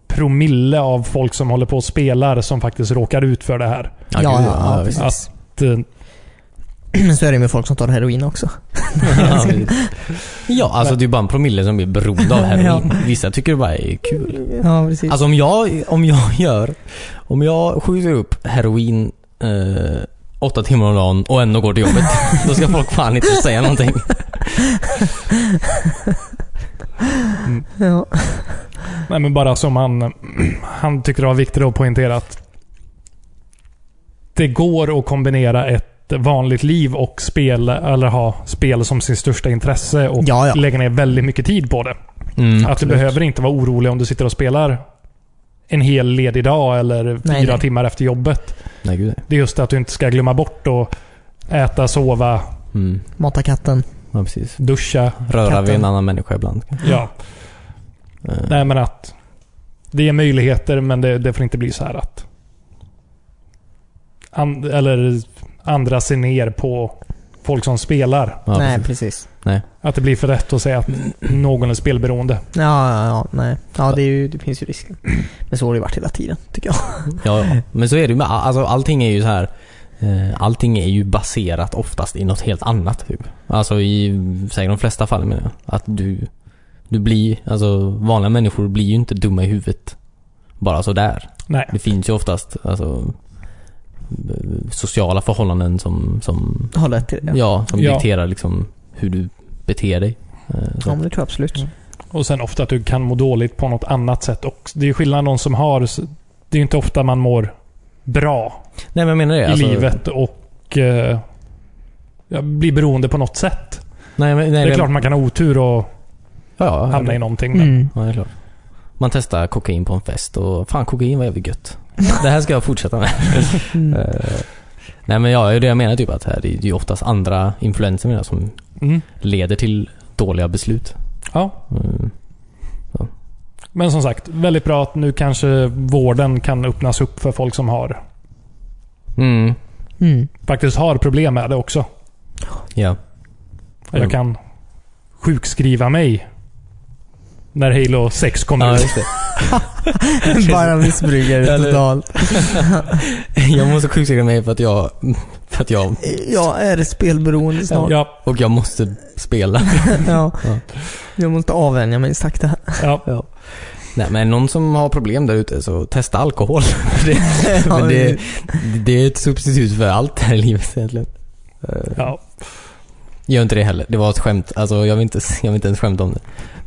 S2: promille av folk som håller på och spelar som faktiskt råkar ut för det här.
S3: Ja,
S1: ja,
S3: gud,
S1: ja,
S3: ja,
S1: precis.
S3: visst.
S2: Att, eh,
S1: Så är det med folk som tar heroin också.
S3: ja, precis. ja, alltså det är bara en promille som blir beroende av heroin. Vissa tycker det bara är kul.
S1: Ja, precis.
S3: Alltså om jag, om jag gör, om jag skjuter upp heroin eh, åtta timmar om dagen och ändå går till jobbet. då ska folk fan inte säga någonting.
S1: ja.
S2: nej men bara som han, han tyckte det var viktigt att poängtera att det går att kombinera ett vanligt liv och spel, eller ha spel som sin största intresse och
S1: ja, ja.
S2: lägga ner väldigt mycket tid på det.
S3: Mm.
S2: Att du behöver inte vara orolig om du sitter och spelar en hel ledig dag eller fyra
S1: nej.
S2: timmar efter jobbet.
S3: Nej, gud. nej.
S2: Det är just att du inte ska glömma bort att äta, sova,
S3: Mm.
S1: Mata katten.
S3: Ja, precis.
S2: Duscha.
S3: Röra
S1: Katten.
S3: vid en annan människa ibland.
S2: Ja.
S3: Eh,
S2: Nej, men att det är möjligheter, men det, det får inte bli så här att and, eller andra ser ner på folk som spelar.
S3: ja,
S1: nej,
S3: precis.
S1: precis.
S2: Att det blir för rätt att säga att någon är spelberoende.
S1: Ja, ja, ja, nej. Ja, det, är ju, det finns ju risken. Men så har det ju varit hela tiden, tycker jag.
S3: Ja, ja. men så är det ju med alltså, allting är ju så här. eh, Allting är ju baserat oftast i något helt annat. Typ. Alltså i säkert de flesta fall menar jag. Att du, du blir, alltså vanliga människor blir ju inte dumma i huvudet. Bara sådär.
S2: Nej.
S3: Det finns ju oftast alltså, eh, sociala förhållanden som, som,
S1: Har lett till det.
S3: ja.
S1: Ja,
S3: som
S2: Ja.
S3: dikterar liksom hur du beter dig. Eh, så.
S1: men det tror jag absolut.
S2: Mm. Och sen ofta att du kan må dåligt på något annat sätt också. Det är ju skillnad någon som har... Det är ju inte ofta man mår bra
S3: Nej men jag menar det.
S2: i
S3: alltså-
S2: livet och eh, ja, blir beroende på något sätt.
S3: Nej, men, nej,
S2: det är klart man kan ha otur och
S3: ja, ja,
S2: hamna i någonting. Men
S1: Mm.
S3: Ja, det är klart. Man testar kokain på en fest och fan kokain var jävligt gött. Det här ska jag fortsätta med.
S1: Mm.
S3: Eh, Nej men ja, det är det jag menar typ att här, det är ju oftast andra influenser menar jag, som
S2: Mm.
S3: leder till dåliga beslut.
S2: Ja.
S3: Mm.
S2: Men som sagt, väldigt bra att nu kanske vården kan öppnas upp för folk som har,
S3: Mm.
S1: Mm.
S2: faktiskt har problem med det också.
S3: Ja. Mm.
S2: Jag kan sjukskriva mig när Halo 6 kommer
S3: ja,
S2: ut.
S3: just det.
S1: Bara missbrukare
S3: Eller-
S1: totalt.
S3: Jag måste sjukskriva mig för att jag... För att jag...
S1: Jag är spelberoende snart. Ja.
S2: Ja,
S3: Och jag måste spela. Ja.
S1: Jag måste avvänja mig sakta.
S2: ja.
S3: Nej men någon som har problem där ute så testa alkohol. det,
S1: Ja,
S3: men det,
S1: men-
S3: det är ett substitut för allt här i livet egentligen. Eh,
S2: ja.
S3: Gör inte det heller. Det var ett skämt. Alltså, jag vill inte, jag vill inte ens skämta om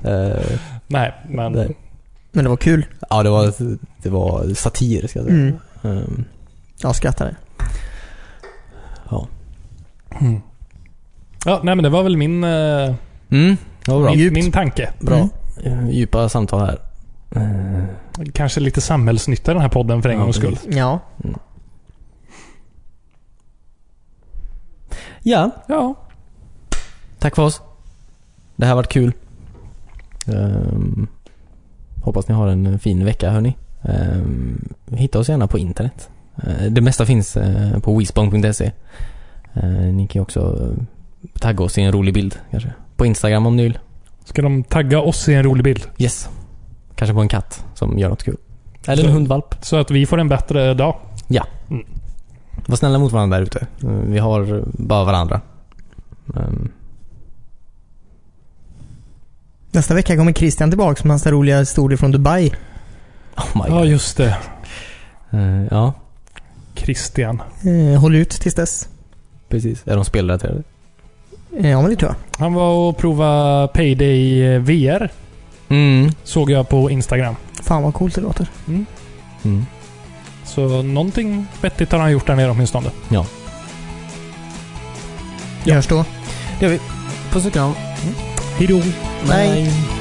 S3: det. Eh,
S2: Nej, men
S3: det
S1: Men det var kul.
S3: ja, det var, det var satir, ska jag säga.
S1: Mm.
S3: Ehm,
S1: Jag skrattade.
S2: Mm. Ja, nej, men det var väl min, eh,
S3: Mm, det var bra.
S2: min,
S1: Djupt.
S2: min tanke.
S3: Bra.
S1: Mm.
S3: Eh, Djupa samtal här. Eh,
S2: Mm. Kanske lite samhällsnytta i den här podden för en
S3: Ja,
S2: gångs skull.
S1: Ja.
S3: ja,
S2: Ja,
S3: tack för oss. Det här har varit kul. Ehm, hoppas ni har en fin vecka, hörni. Ehm, hitta oss gärna på internet. Eh, det mesta finns eh, på wispong.se. Eh, ni kan ju också eh, tagga oss i en rolig bild, kanske. På Instagram om ni vill.
S2: ska de tagga oss i en rolig bild
S3: Yes. Kanske på en katt som gör något kul. Eller en
S2: Så-
S3: hundvalp.
S2: så att vi får en bättre dag.
S3: Var snälla mot varandra där ute. Eh, Vi har bara varandra. Ehm,
S1: Nästa vecka kommer Christian tillbaka med hans roliga historier från Dubai.
S3: oh my
S2: Ja,
S3: god.
S2: just det.
S3: Eh, ja,
S2: Christian.
S1: Eh, håll ut tills dess.
S3: precis. Är de spelrelaterade?
S1: Eh, ja, men det tror jag.
S2: Han var och provade Payday eh, VR.
S3: Mm.
S2: Såg jag på Instagram.
S1: Fan vad coolt det låter.
S3: mm.
S2: Så någonting vettigt har han gjort där nere åtminstone.
S1: Ja. Görs då.
S3: Puss och kram.
S1: Mm.
S2: Hejdå!
S1: Nej.
S3: Bye.